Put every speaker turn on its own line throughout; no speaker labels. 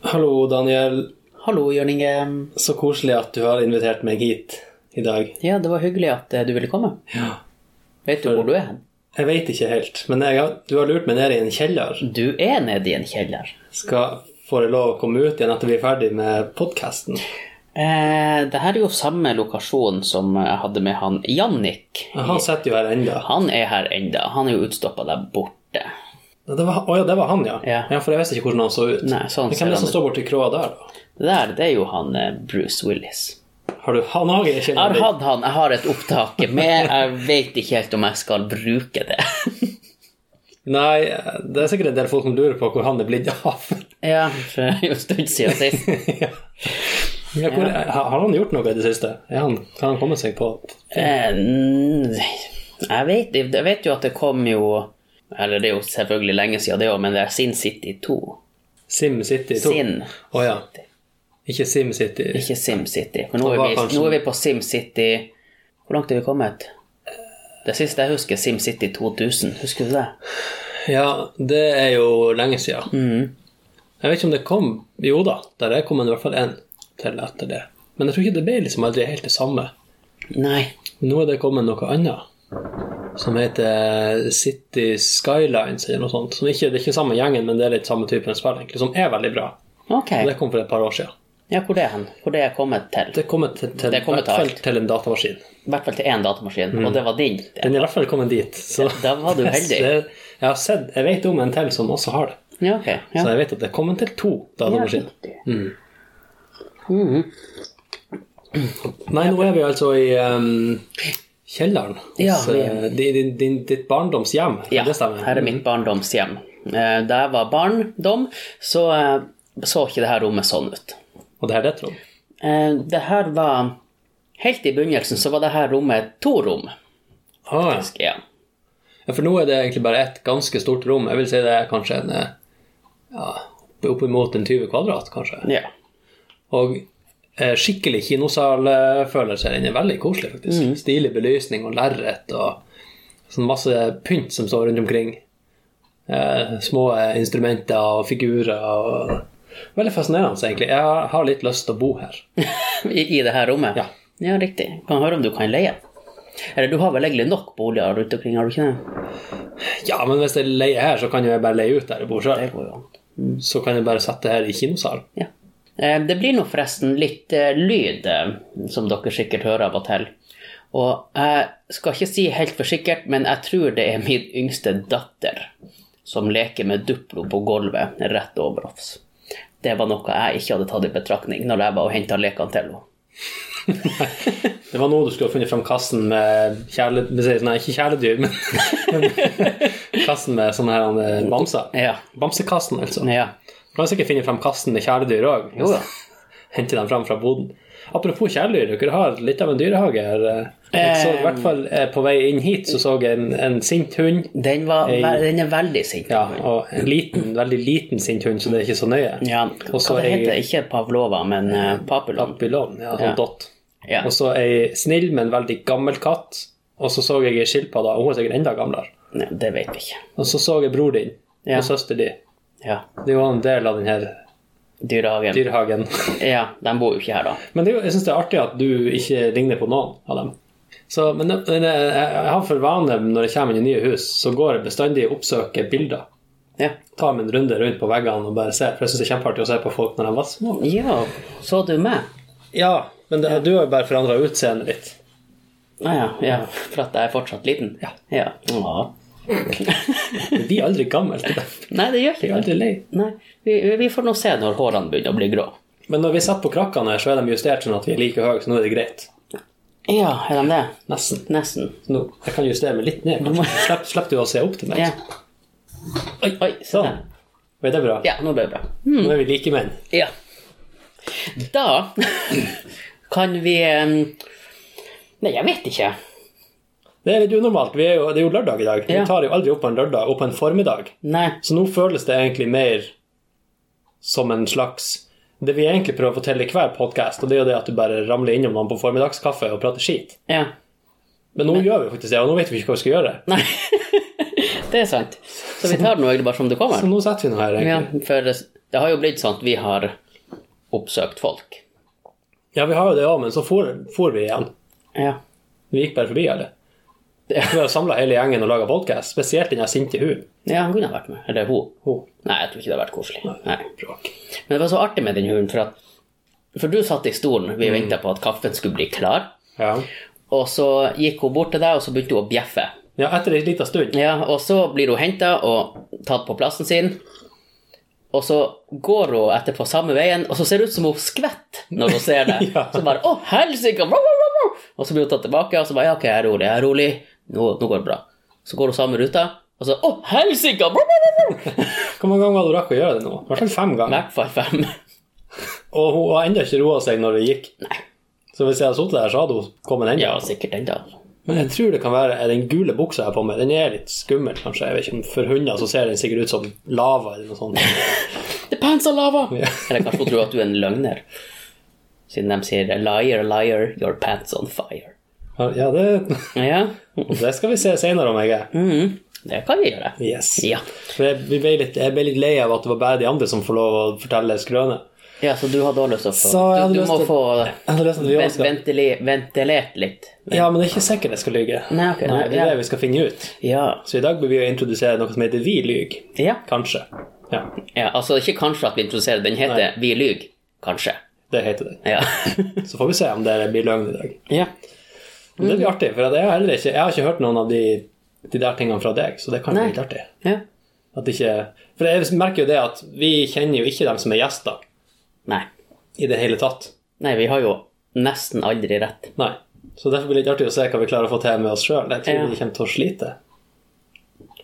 Hallo, Daniel.
Hallo, Jørn Inge.
Så koselig at du har invitert meg hit i dag.
Ja, det var hyggelig at eh, du ville komme.
Ja.
Vet du hvor du er hen?
Jeg vet ikke helt, men jeg har, du har lurt meg ned i en kjeller.
Du er nede i en kjeller.
Skal få lov å komme ut igjen etter vi er ferdig med podkasten.
Eh, det her er jo samme lokasjon som jeg hadde med han Jannik.
Han sitter jo her ennå.
Han er her enda. Han er jo utstoppa der borte.
Det var, å ja, det var han, ja.
Ja.
For jeg visste ikke hvordan han så ut.
Nei, sånn
Men Hvem
ser
er det
han
som
ut.
står borti kråa der, da?
Det der, det er jo han eh, Bruce Willis.
Har du han òg i
Jeg har
kjelleren? din?
hatt han, jeg har et opptak med, jeg vet ikke helt om jeg skal bruke det.
Nei, det er sikkert en del folk som lurer på hvor han er blitt av.
Ja, for det er jo en stund siden sist.
Ja, hvor, Har han gjort noe i det siste? Er han, kan han komme seg på
Eh, n- Jeg vet, jeg vet jo at det kom jo Eller det er jo selvfølgelig lenge siden det òg, men det er Sin City 2.
Sim City 2?
Sin,
Å ja. Ikke Sim City.
ikke Sim City. For nå
Det
er,
var
vi,
kanskje-
nå er vi på Sim City Hvor langt er vi kommet? Det siste jeg husker, Sim City 2000. Husker du det?
Ja, det er jo lenge siden. Jeg vet ikke om det kom Jo da, der er kommet i hvert fall én til etter det. Men jeg tror ikke det ble liksom aldri helt det samme.
Nei.
Men nå er det kommet noe annet som heter City Skylines eller noe sånt. Som ikke, det er ikke samme gjengen, men det er litt samme typen spill, egentlig, som er veldig bra.
Ok.
Det kom for et par år siden.
Ja, hvor det er han? Hvor det er kommet til?
Det er kommet til, til,
Det er kommet
i hvert fall
til alt.
til en datamaskin.
I hvert fall til én datamaskin,
Mm.
og det var din.
Den er i hvert fall kommet dit. Så
Da var du heldig.
Det, jeg, har sett, jeg vet om en til som også har det.
Ja, ok. Ja.
Så jeg vet at det er kommet til to
Ja,
datamaskiner.
riktig.
Nei, nå er vi altså i ehm, kjelleren hos
Ja, vi er-
eh, din, din, din, ditt barndomshjem.
Ja,
det stemmer. Mm.
her er mitt barndomshjem. Eh, Da jeg var barndom, så eh, så ikke det her rommet sånn ut.
Og det her er ditt rom.
Eh, Det her var Helt i begynnelsen så var det her rommet to rom.
Ah, ja.
Ja.
Ja, for nå er det egentlig bare et ganske stort rom. Jeg vil si det er kanskje en eh, ja, oppimot en 20 kvadrat, kanskje.
ja.
Og eh, skikkelig kinosalfølelse her inne. Veldig koselig, faktisk. Stilig belysning og lerret og sånn masse pynt som står rundt omkring. Eh, små eh, instrumenter og figurer og Veldig fascinerende, egentlig. Jeg har- har litt lyst til å bo her.
I, I det her rommet?
Ja.
ja, riktig. Kan høre om du kan leie. Eller du har vel egentlig nok boliger rundt omkring, har du ikke det?
Ja, men hvis jeg leier her, så kan jo jeg bare leie ut der jeg bor
Det
sjøl.
går jo an.
Så kan jeg bare sette her i kinosalen.
Ja. Eh, Det blir nå forresten litt eh, lyd, eh, som dere sikkert hører av og til. Og jeg skal ikke si helt for sikkert, men jeg tror det er min yngste datter som leker med Duplo på gulvet rett over oss. Det var noe jeg ikke hadde tatt i betraktning når jeg var og henta lekene til henne.
Det var nå du skulle ha funnet fram kassen med kjæle... Nei, ikke kjæledyr, men kassen med sånne her eh, bamser.
Ja.
Bamsekassen, altså.
ja.
Du kan sikkert finne fram kassen med kjæledyr òg.
Jo da.
Hente dem fram fra boden. Apropos kjæledyr, dere har litt av en dyrehage her. Jeg så i hvert fall eh, på vei inn hit så så jeg en, en sint hund.
Den, var,
Ei.
den er veldig sint.
Ja, og en liten, veldig liten sint hund, så det er ikke så nøye.
Ja,
Og så
Hva det
ei-
heter det? Ikke Pavlova, men eh, Papillon.
Babylon, ja, sånn
Ja.
dott.
Ja.
Og så ei snill, men veldig gammel katt. Og så så jeg ei skilpadde, og hun er sikkert enda gamlere.
Nei, Det vet vi ikke.
Og så så jeg bror din
Ja.
og søster di.
Ja.
Det er jo en del av denne
Dyrehagen.
dyrehagen.
Ja, de bor jo ikke her, da.
Men det er jo, jeg syns det er artig at du ikke ligner på noen av dem. Så, men det- men jeg, jeg har for vane når jeg kommer inn i nye hus, så går jeg bestandig og oppsøker bilder.
Ja.
Tar meg en runde rundt på veggene og bare ser, for jeg syns det er kjempeartig å se på folk når de var små.
Ja, så du meg?
Ja, men det, du har jo bare forandra utseendet litt.
Ah, ja, ja, for at jeg er fortsatt liten?
Ja.
ja. Ja.
Det blir aldri gammelt. Det
Nei, det gjør
blir
ikke det.
aldri lei.
Nei, vi, vi får nå se når hårene begynner å bli grå.
Men når vi sitter på krakkene her, så er de justert sånn at vi er like høye, så nå er det greit.
Ja, er de det?
Nesten.
Nesten.
Så nå, jeg kan justere meg litt ned, kanskje. Slipp, slipp du å se opp til meg.
Ja. Oi, oi, se der.
Sånn. Vet det bra?
Ja, nå ble det bra. Mm,
Nå er vi like menn.
Ja. Da kan vi em, Nei, jeg vet ikke.
Det er litt unormalt. Vi er jo, det er jo lørdag i dag.
Ja.
Vi tar jo aldri opp på en lørdag, opp på en formiddag.
Nei.
Så nå føles det egentlig mer som en slags Det vi egentlig prøver å fortelle i hver podkast, og det er jo det at du bare ramler innom noen på formiddagskaffe og prater skit.
Ja.
Men nå gjør vi faktisk det, og nå vet vi ikke hva vi skal gjøre.
Nei. Det er sant. Så vi tar det nå egentlig bare som det kommer.
Så nå setter vi nå her,
Ja,
egentlig.
for Mm, Det har jo blitt sånn at vi har oppsøkt folk.
Ja, vi har jo det òg, men så for, for vi igjen.
Ja.
Vi gikk bare forbi alle. Vi har samla hele gjengen og laga podkast, spesielt den her sinte hun.
ja, han kunne ha vært med. Eller hun.
Hun.
Nei, jeg tror ikke det har vært koselig. Nei.
Bråk.
Men det var så artig med den hunden, for, at, for du satt i stolen, vi ventet venta på at kaffen skulle bli klar,
Ja.
og så gikk hun bort til deg, og så begynte hun å bjeffe.
ja, etter ei lita stund.
Ja, og så blir hun henta og tatt på plassen sin. Og så går hun etterpå samme veien, og så ser det ut som hun skvetter når hun ser det.
Ja.
Så bare 'Å, helsike!' wow, wow, wow, wow. Og så blir hun tatt tilbake, og så bare 'Ja, ok, jeg er rolig, jeg er rolig. Nå, nå går det bra.' Så går hun samme ruta, og så 'Å, helsike!' wow, wow, wow, wow.
Hvor mange ganger hadde du rakk å gjøre det nå? I hvert fall fem
I
ganger.
hvert fall fem.
Og hun har ennå ikke roa seg når vi gikk. Så hvis jeg hadde sittet der, så hadde hun kommet ennå.
Ja, sikkert den, da.
Men jeg tror det kan være den gule buksa jeg har på meg. Den er litt skummel, kanskje. Jeg vet ikke om For hunder så ser den sikkert ut som lava eller noe sånt.
Depends on lava! Eller kanskje hun tror at du er en løgner. Siden de sier 'liar, liar, your pants on fire'.
Ja, det,
Ja,
det skal vi se seinere om jeg er.
mhm. det kan vi gjøre.
Yes.
Ja.
For jeg, vi ble litt, jeg ble litt lei av at det var bare de andre som får lov å fortelle skrøner.
Ja, så du hadde også lyst til å
Så jeg
få
hadde
Du, du
lyst
må
til-
få eh,
Jeg hadde lyst til at vi
ven-
også skal-
ventile- ventilert litt.
Ja, men det er ikke sikkert jeg skal lyge.
Nei, ok,
Nei,
nei,
det er
ja.
det vi skal finne ut.
Ja.
Så i dag bør vi jo introdusere noe som heter Vi lyg.
ja.
Kanskje. Ja,
ja. Altså, ikke kanskje at vi introduserer den heter Vi lyg, kanskje.
det heter det.
Ja.
Så får vi se om det blir løgn i dag.
ja.
Men det
Mm.
blir artig, for jeg har, heller ikke, jeg har ikke hørt noen av de, de der tingene fra deg, så det kan bli
Nei.
litt artig.
ja.
At ikke, for jeg merker jo det at vi kjenner jo ikke dem som er gjester
Nei.
i det hele tatt.
Nei, vi har jo nesten aldri rett.
Nei. Så derfor blir det litt artig å se hva vi klarer å få til med oss sjøl. Jeg tror
Ja.
vi kommer til å slite,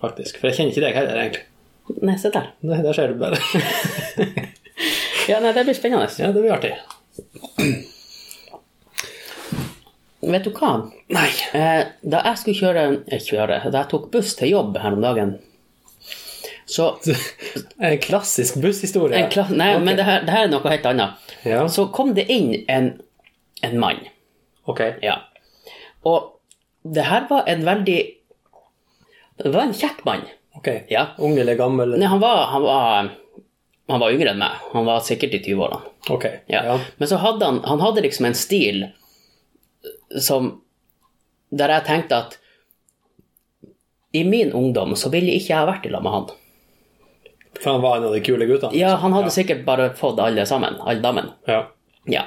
faktisk. For jeg kjenner ikke deg heller, egentlig.
Nei, se der.
Nei, der ser du bare.
Ja, nei, det blir spennende.
ja, det blir artig.
Vet du hva?
Nei.
Eh, da jeg skulle kjøre, eh, kjøre Da jeg tok buss til jobb her om dagen, så
En klassisk busshistorie.
en kla Nei, men det her, det her er noe helt annet.
Ja.
Så kom det inn en, en mann.
Ok.
Ja. Og det her var en veldig Det var en kjekk mann.
ok.
Ja.
Ung eller gammel?
Nei, han var, han var, han var yngre enn meg. Han var sikkert i 20-årene.
Ok.
Ja. Men så hadde han, han hadde liksom en stil som Der jeg tenkte at i min ungdom så ville ikke jeg ha vært i lag med han.
For han var en av de kule guttene?
Ja, Han hadde sikkert bare fått alle sammen. Alle damen.
Ja.
Ja.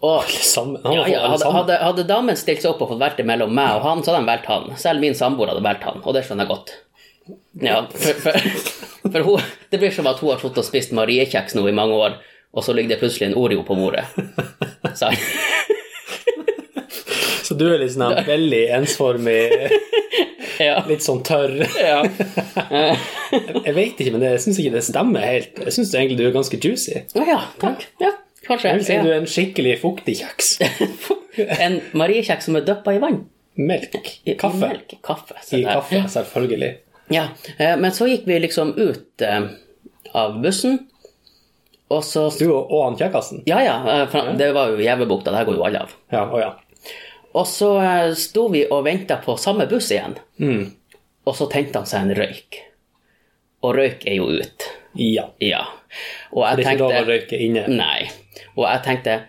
Og
Sammen. Han
Ja,
var
ja,
alle
hadde,
sammen.
hadde, hadde damen stilt seg opp og fått valgt det mellom meg og han, så hadde de valgt han. Selv min samboer hadde valgt han, og det skjønner jeg godt. Ja, for, for, for hun, det blir som at hun har sittet og spist Mariekjeks nå i mange år, og så ligger det plutselig en Oreo på bordet. Så,
Så du er litt sånn her veldig ensformig,
ja,
litt sånn tørr.
ja.
Jeg vet ikke, men jeg syns ikke det stemmer helt. Jeg syns egentlig du er ganske juicy.
Å ja, takk. Ja, kanskje.
Jeg vil si du
Ja.
er en skikkelig fuktig kjeks.
En Mariekjeks som er dyppa i vann.
Melk.
I, i
Kaffe.
melk. Kaffe. så
I
der.
kaffe, selvfølgelig.
Ja, eh, men så gikk vi liksom ut eh, av bussen, og så
Du og og han kjekkasen?
Ja, ja. eh, For det var jo Gjevebukta, der går jo alle av.
Ja, å ja.
Og så eh, sto vi og venta på samme buss igjen.
Mm.
Og så tente han seg en røyk. Og røyk er jo ut.
Ja.
Ja. Og jeg
Det er ikke lov å
tenkte Mm.
røyke inne.
Nei. Og jeg tenkte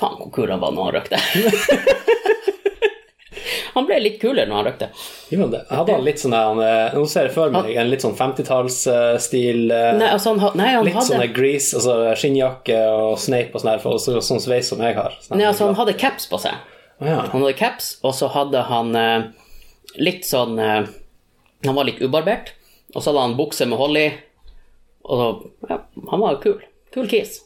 Faen, hvor kul han var når han røykte. han ble litt kulere når han røykte.
Jo, men det- Hadde han litt sånn her eh, Nå ser jeg for meg en litt sånn 50-tallsstil
Nei, altså, han, ha- nei, han
eh, Litt
hadde
sånn grease, altså skinnjakke og sneip og sånn her, for- og så- sånn sveis som jeg har. Sånn
Nei,
her.
altså, han hadde caps på seg.
Å ja.
Han hadde caps, og så hadde han eh, litt sånn eh, Han var litt ubarbert, og så hadde han bukse med hull i. Og så Ja, han var kul. Kul kis.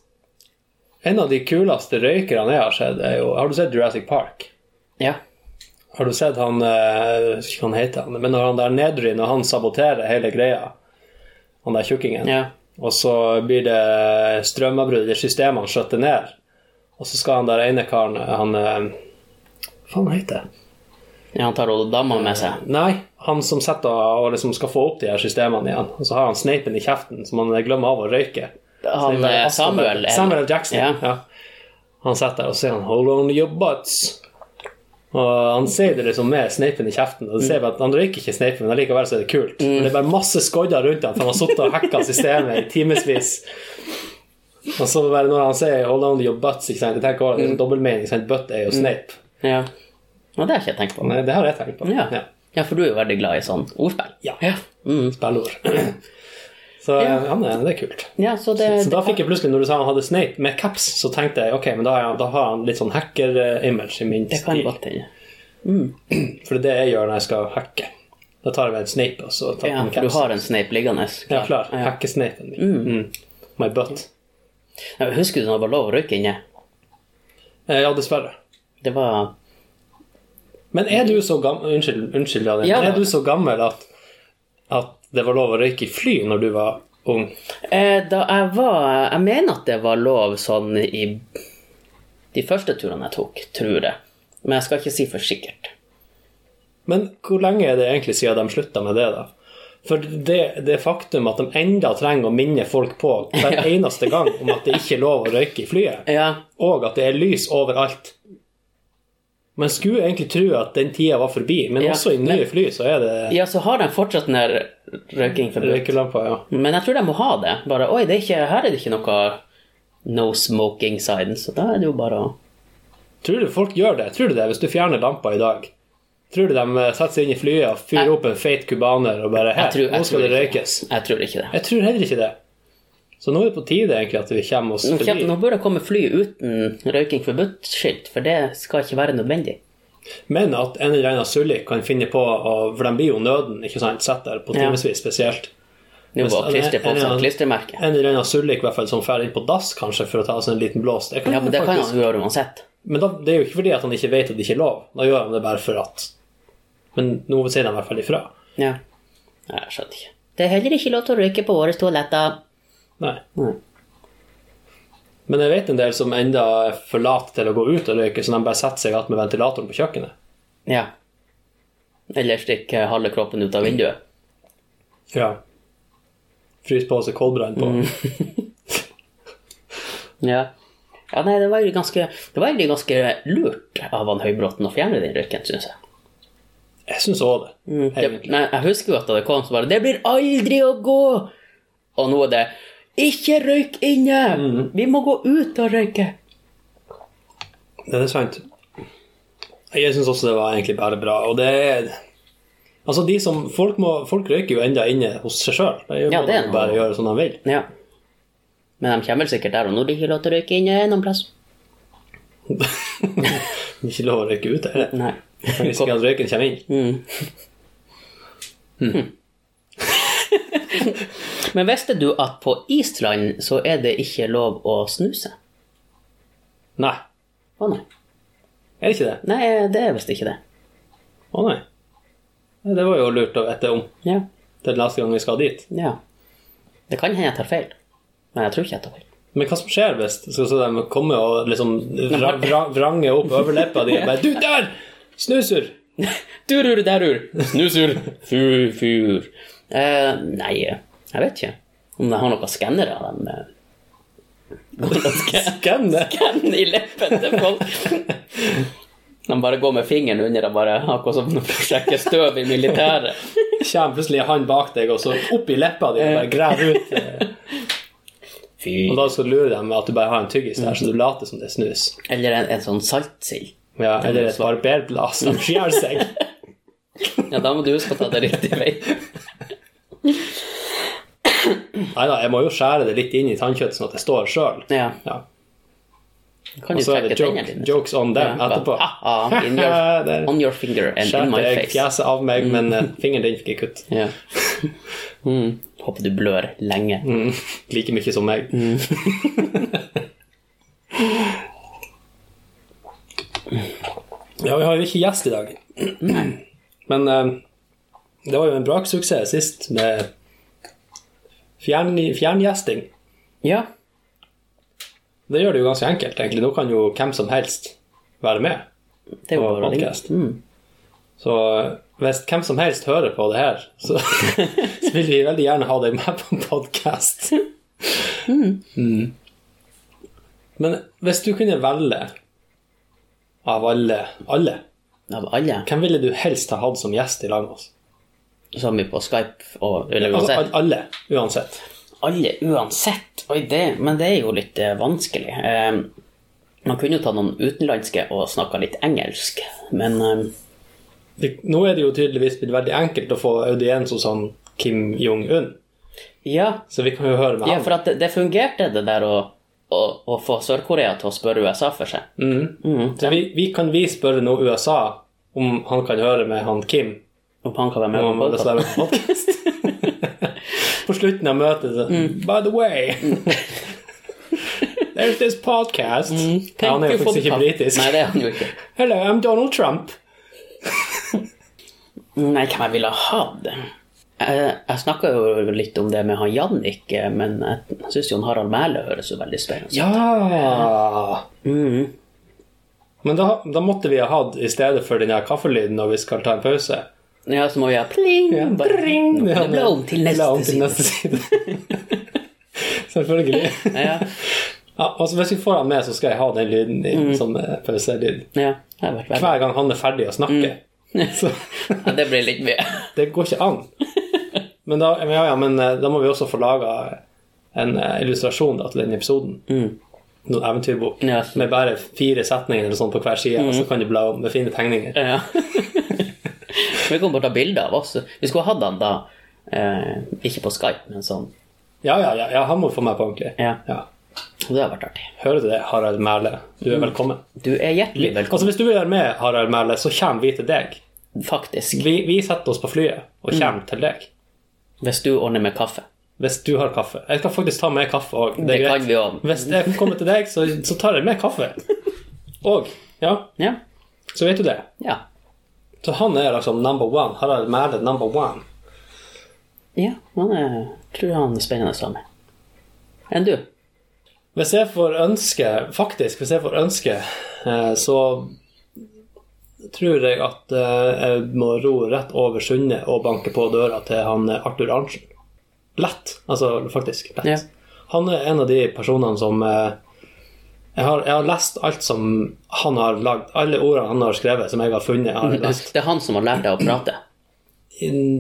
En av de kuleste røykerne jeg har sett, er jo Har du sett Jurassic Park?
Ja.
Har du sett han eh, Jeg vet ikke hva han heter, han, men når han der Nedry, når han saboterer hele greia, han der tjukkingen,
ja.
og så blir det strømavbrudd, det systemene skjøtter ned, og så skal han der ene karen Han eh, Hva faen heter det?
ja han tar og dama med seg.
Nei, han som setter og liksom skal få opp de her systemene igjen, og så har han sneipen i kjeften som han glemmer av å røyke. Så det er
Han
bare
eh,
Astor-
Samuel, eh,
Samuel Jackson.
Ja.
Ja. Han sitter der og sier han 'Hold on your butts'. Og han sier det liksom med sneipen i kjeften. Og du ser bare at Han røyker ikke sneipen, men allikevel så er det kult.
Mm.
Og det er bare masse skodder rundt han, for han har sittet og hacka systemet i timevis. Og så bare når han sier 'hold on to your butts', ikke sant? jeg tenker også, det er sånn
Mm.
dobbeltmening. ikke sant? Butt er jo sneip.
Ja. Og det har ikke jeg tenkt på.
Nei, Det har jeg tenkt på.
Ja.
Ja.
ja, for du er jo veldig glad i sånn ordspill.
Ja.
Mm.
Spillord. Så ja. han er, det er kult.
Ja, så Eh, det,
Så da fikk jeg plutselig, når du sa han hadde Snape med caps, så tenkte jeg ok, men da, er han, da har han litt sånn hacker-image i min
det kan
stil.
godt hende.
For det er det jeg gjør når jeg skal hacke. Da tar jeg meg en Snape og så tar jeg
Ja,
en
for du
caps.
har en sneip liggende.
Jeg er klar. Hackesnapen min. Mm. My butt.
Ja, Husker du når det var lov å røyke inne?
Eh, Ja, dessverre.
Det var
Men er du så gammel Unnskyld, unnskyld Daniel.
Ja.
Men Er du så gammel at, at det var lov å røyke i fly når du var ung?
eh, Da jeg var Jeg mener at det var lov sånn i de første turene jeg tok, tror jeg. Men jeg skal ikke si for sikkert.
Men hvor lenge er det egentlig siden de slutta med det, da? For det, det faktum at de enda trenger å minne folk på hver eneste gang om at det ikke er lov å røyke i flyet,
Ja,
og at det er lys overalt Man skulle egentlig tro at den tida var forbi, men
Ja,
også i nye fly så er det
ja så har de fortsatt den der røyking forbudt.
røykelamper, ja.
Men jeg tror de må ha det. Bare Oi, det er ikke, her er det ikke noe no smoking sign, så da er det jo bare å
Tror du folk gjør det? Tror du det hvis du fjerner lampa i dag? Tror du de eh, setter seg inn i flyet og fyrer opp en feit cubaner og bare Her,
tror- jeg
nå skal
tror
det
ikke
røykes.
Jeg tror ikke det.
Jeg tror heller ikke det. Så nå er det på tide egentlig at vi kommer oss
Nå,
forbi.
kjem- nå bør det komme fly uten røyking forbudt-skilt, for det skal ikke være nødvendig.
Men at en eller annen Sullik kan finne på å For de blir jo nøden, ikke sant? Sett der på
Ja.
timevis spesielt.
Nå
Hvis-
var klistre
en
på
eller
sånn
annen-
klistremerke.
En eller annen Sullik i hvert fall som drar inn på dass, kanskje, for å ta seg en liten blås. Det kan
Ja, men det kan
faktisk-
han jo gjøre uansett.
Men da, det er jo ikke fordi at han ikke vet at det ikke er lov. Da gjør han det bare for at Men nå sier de i hvert fall ifra.
Ja. Nei, Jeg skjønner ikke. Det er heller ikke lov til å røyke på våre toaletter.
Nei.
Nei.
Men jeg vet en del som enda er for late til å gå ut og røyke, så de bare setter seg igjen med ventilatoren på kjøkkenet.
Ja. Eller stikke halve kroppen ut av vinduet.
Ja. Fryse på seg koldbrann på.
Mm. Ja. Ja, nei, det var egentlig ganske, det var egentlig ganske lurt av han Høybråten å fjerne den røyken, syns jeg.
Jeg syns òg det.
Det,
egentlig.
nei, jeg husker jo at da det kom, så bare Det blir aldri å gå! Og nå er det Ikke røyk inne! Vi må gå ut og røyke!
Det er sant. Jeg syns også det var egentlig bare bra. Og det er Altså, de som Folk, må, folk røyker jo enda inne hos seg sjøl.
Ja, det er noe.
bare gjøre som de vil.
Ja. Men de kommer sikkert der, og nå er det ikke lov til å røyke inne noen plass.
Det er Ikke lov å røyke ute. er det?
Nei. Mm.
Hvis ikke at røyken kommer inn.
Men visste du at på Island så er det ikke lov å snuse?
Nei.
Å nei.
Er det ikke det?
Nei, det er visst ikke det.
Å nei. Nei, Det var jo lurt å vite om
Ja.
til neste gang vi skal dit.
ja. Det kan hende jeg tar feil. Men jeg tror ikke jeg tar feil.
Men hva som skjer hvis skal så de kommer og liksom vra, vra, vranger opp overleppa di og bare Du, der! Snuser!
Durur derur, snusur, fur, fur. Eh, nei, jeg vet ikke om de har noen skannere av dem. eh,
Skanne!
Skann i leppen til folk. De bare går med fingeren under og bare akkurat som når de sjekker støv i militæret.
Kommer plutselig en hand bak deg og så opp i leppa di og bare graver ut. eh,
Fy.
Og da skal du lure dem med at du bare har en tyggis der, så du later som det er snus.
Eller en, en sånn saltsild.
Ja, eller et barberblad som skjærer seg.
Ja, da må du huske å ta det riktig vei.
Nei da, jeg må jo skjære det litt inn i tannkjøttet sånn at det står sjøl.
Ja,
Ja.
kan
Og
du
så er
trekke
det
tennene
joke,
dine?
jokes on them
Ja,
etterpå.
ah, ah, in your-
Der
On your finger and in my
skjærte jeg
face. Mm.
fjeset av meg, men eh, fingeren din fikk jeg kutt.
Ja. Mm. Håper du blør lenge.
Mm. Like mye som meg. ja, vi har jo ikke gjest i dag. Men eh, det var jo en braksuksess sist med fjern, fjerngjesting.
Ja.
Det gjør det jo ganske enkelt, egentlig. Nå kan jo hvem som helst være med.
Det er jo
Og
bare å ringe.
podcast. Så hvis hvem som helst hører på det her, så, så vil vi veldig gjerne ha deg med på en podkast.
Mm.
Men hvis du kunne velge av alle alle
Av alle.
Hvem ville du helst ha hatt som gjest i lag med oss?
Så mye på Skype og eller
Al-
uansett.
Altså, al- Alle, uansett.
Alle uansett. Oi, det, men det er jo litt eh, vanskelig. Eh, man kunne jo ta noen utenlandske og snakka litt engelsk, men eh,
Det, nå er det jo tydeligvis blitt veldig enkelt å få audiens hos han Kim Jong-un,
ja,
så vi kan jo høre med
ja,
han.
for at det, det fungerte, det der å, å, å få Sør-Korea til å spørre USA for seg.
Mhm.
Mm,
Så vi, vi kan vi spørre nå USA om han kan høre med han Kim.
Om han kan være med
Om han
på
vil
podkast.
være med på podcast. På slutten av møtet så
Mm.
By the way There's this podcast.
Mm.
Ja, han er jo faktisk ikke britisk.
Nei, det er han jo ikke.
Hello, I'm Donald Trump.
Nei, hvem jeg ville hatt? Jeg, jeg snakka jo litt om det med han Jannik, eh, men jeg, jeg syns Harald Mæhle høres jo veldig spennende ut.
Ja! Mm. Men da, da måtte vi ha hatt, i stedet for den her kaffelyden når vi skal ta en pause
Ja, så må vi ha pling! bare-
Bring!
Det ble om til
Det ble
neste
om til
side.
neste side. Selvfølgelig.
Ja,
Ja, altså Hvis vi får han med, så skal jeg ha den lyden din
Mm.
som eh, pauselyd.
ja, det har vært veldig
Hver gang han er ferdig å
Mm.
snakke. Så
ja, Det blir litt mye.
det går ikke an. Men da, men ja, ja, men eh, da må vi også få laga en eh, illustrasjon da, til den episoden. Noen eventyrbok
Mm. Ja. Mm.
med bare fire setninger eller sånn på hver side, og så kan du bla om med fine tegninger.
Ja. Vi kommer bare ta bilder av oss. Vi skulle hatt han da, eh, ikke på Skype, men sånn.
Ja, ja, ja, ja han må få meg på ordentlig.
Ja.
Ja.
Det har vært artig.
Hører du det, Harald Mæhle? Du er velkommen.
Du er hjertelig
Altså,
Mm. velkommen,
hvis du vil være med, Harald Mæhle, så kommer vi til deg.
faktisk.
Vi, vi setter oss på flyet og
Mm.
kommer til deg.
Hvis du ordner med kaffe.
Hvis du har kaffe. Jeg skal faktisk ta med kaffe òg.
Det kan vi også.
Hvis jeg kommer til deg, så, så tar jeg med kaffe. Og, ja,
Ja.
så vet du det.
Ja.
Så han er liksom number one. Harald Mæhle number one.
ja han er, tror han er spennende sammen. Enn du?
Hvis jeg får ønske, faktisk, hvis jeg får ønske, eh, så tror jeg at eh, jeg må ro rett over sundet og banke på døra til han eh, Arthur Arntzen. Lett. Altså faktisk lett.
Ja.
Han er en av de personene som eh, jeg har, jeg har lest alt som han har lagd, alle ordene han har skrevet, som jeg har funnet. Jeg har lest.
Det er han som har lært deg å prate.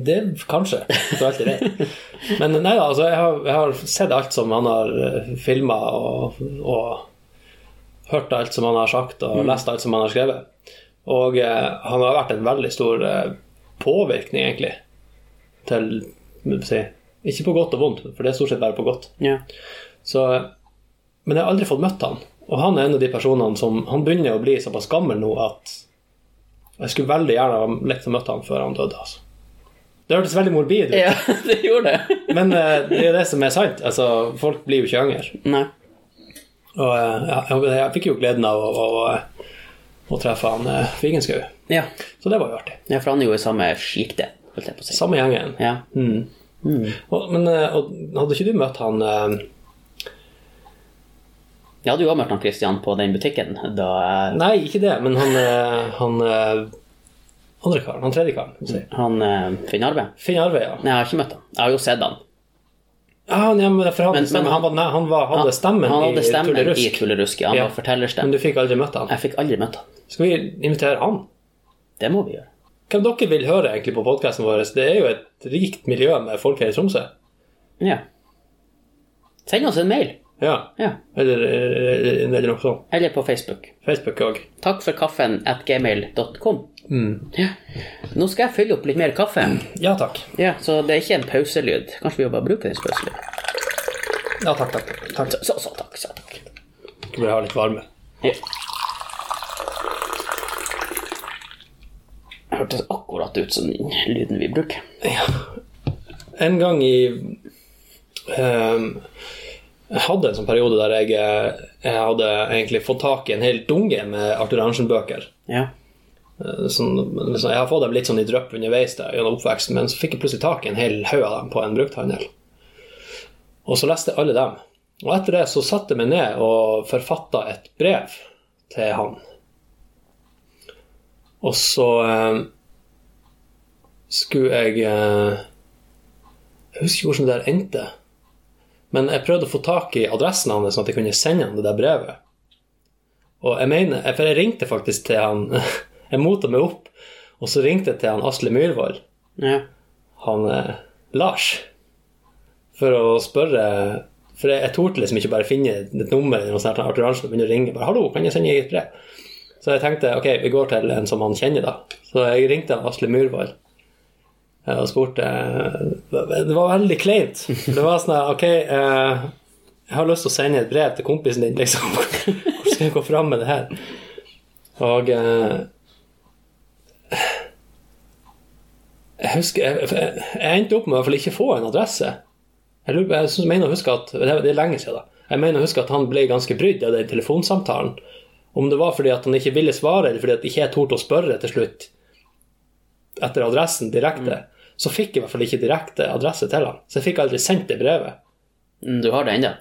Det kanskje. For alt jeg vet. Men nei da, altså, jeg har, jeg har sett alt som han har filma, og, og hørt alt som han har sagt, og lest alt som han har skrevet. Og eh, han har vært en veldig stor eh, påvirkning, egentlig, til hva skal jeg si, Ikke på godt og vondt, for det er stort sett bare på godt.
Ja.
Så, men jeg har aldri fått møtt han. Og han er en av de personene som Han begynner å bli såpass gammel nå at jeg skulle veldig gjerne ha likt å møtt han før han døde. altså. Det hørtes veldig morbid ut,
ja, det gjorde det.
men eh, det er jo det som er sant. Altså, folk blir jo ikke yngre.
Nei.
Og eh, ja, jeg, jeg fikk jo gleden av å, å, å, å treffe han eh, Figenschou,
Ja.
så det var jo artig.
ja, for han er jo i samme sjikte, holdt jeg på å si.
Samme gjengen.
Ja.
Mm. Og, men eh, og, hadde ikke du møtt han eh,
Jeg hadde jo også møtt han Christian på den butikken da jeg
Nei, ikke det, men han, eh, han eh, andre karen. Han tredje karen. må jeg si.
Han eh, Finn Arve?
Finn Arve, ja.
Nei, jeg har ikke møtt han. Jeg har jo sett han.
Ah, ja men for han,
Men-
men,
men-
han, var, nei, han var, hadde stemmen
Han hadde stemmen
i Tullerusk.
i Tullerusk. ja. Han
Ja.
var fortellerstemme.
Men du fikk aldri møtt han.
Jeg fikk aldri møtt han.
Skal vi invitere han?
Det må vi gjøre.
Hvem dere vil høre egentlig på podkasten vår? Det er jo et rikt miljø med folk her i Tromsø.
Ja. Send oss en mail.
Ja.
Ja.
Eller, eller, eller noe sånt.
Eller på Facebook.
Facebook òg.
Takk for kaffen at gmail.com. Ja. Nå skal jeg fylle opp litt mer kaffe.
Ja takk.
Ja, Så det er ikke en pauselyd. Kanskje vi bare bruker den som pauselyd.
Ja takk, takk. takk.
Så, så, så takk. Så, takk.
Skal vi ha litt varme?
Ja. Det hørtes akkurat ut som den lyden vi bruker.
En gang i ehm, Jeg hadde en sånn periode der jeg, eh, jeg hadde egentlig fått tak i en hel dunge med Arthur Arntzen-bøker.
Ja.
sånn, men så- jeg har fått dem litt sånn i drypp underveis der, gjennom oppveksten, men så fikk jeg plutselig tak i en hel haug av dem på en brukthandel. Og så leste jeg alle dem. Og etter det så satte jeg meg ned og forfatta et brev til han. Og så eh, skulle jeg eh, Jeg husker ikke hvordan det der endte, men jeg prøvde å få tak i adressen hans, sånn at jeg kunne sende han det der brevet. Og jeg mener, for jeg ringte faktisk til han Jeg mota meg opp, og så ringte jeg til han Asle Myhrvold,
Ja.
han eh, Lars, for å spørre For jeg, jeg torde liksom ikke bare finne et nummer eller noe sånt, her til Arthur Arntzen og begynne å ringe. bare, 'Hallo, kan jeg sende deg et brev?' Så jeg tenkte ok, vi går til en som han kjenner, da. Så jeg ringte han Asle Myhrvold eh, og spurte eh, Det var veldig kleint. Det var sånn her, OK eh, jeg har lyst til å sende et brev til kompisen din, liksom. Hvordan skal jeg gå fram med det her? Og eh, Jeg husker jeg, jeg, jeg endte opp med å i hvert fall ikke få en adresse. Jeg, lurer på- jeg synes- mener å huske at Det er- det er lenge siden, da. Jeg mener å huske at han ble ganske brydd av den telefonsamtalen. Om det var fordi at han ikke ville svare, eller fordi at ikke jeg torde å spørre til slutt etter adressen direkte, så fikk jeg i hvert fall ikke direkte adresse til han. Så jeg fikk aldri sendt det brevet.
Mm, Du har det ennå.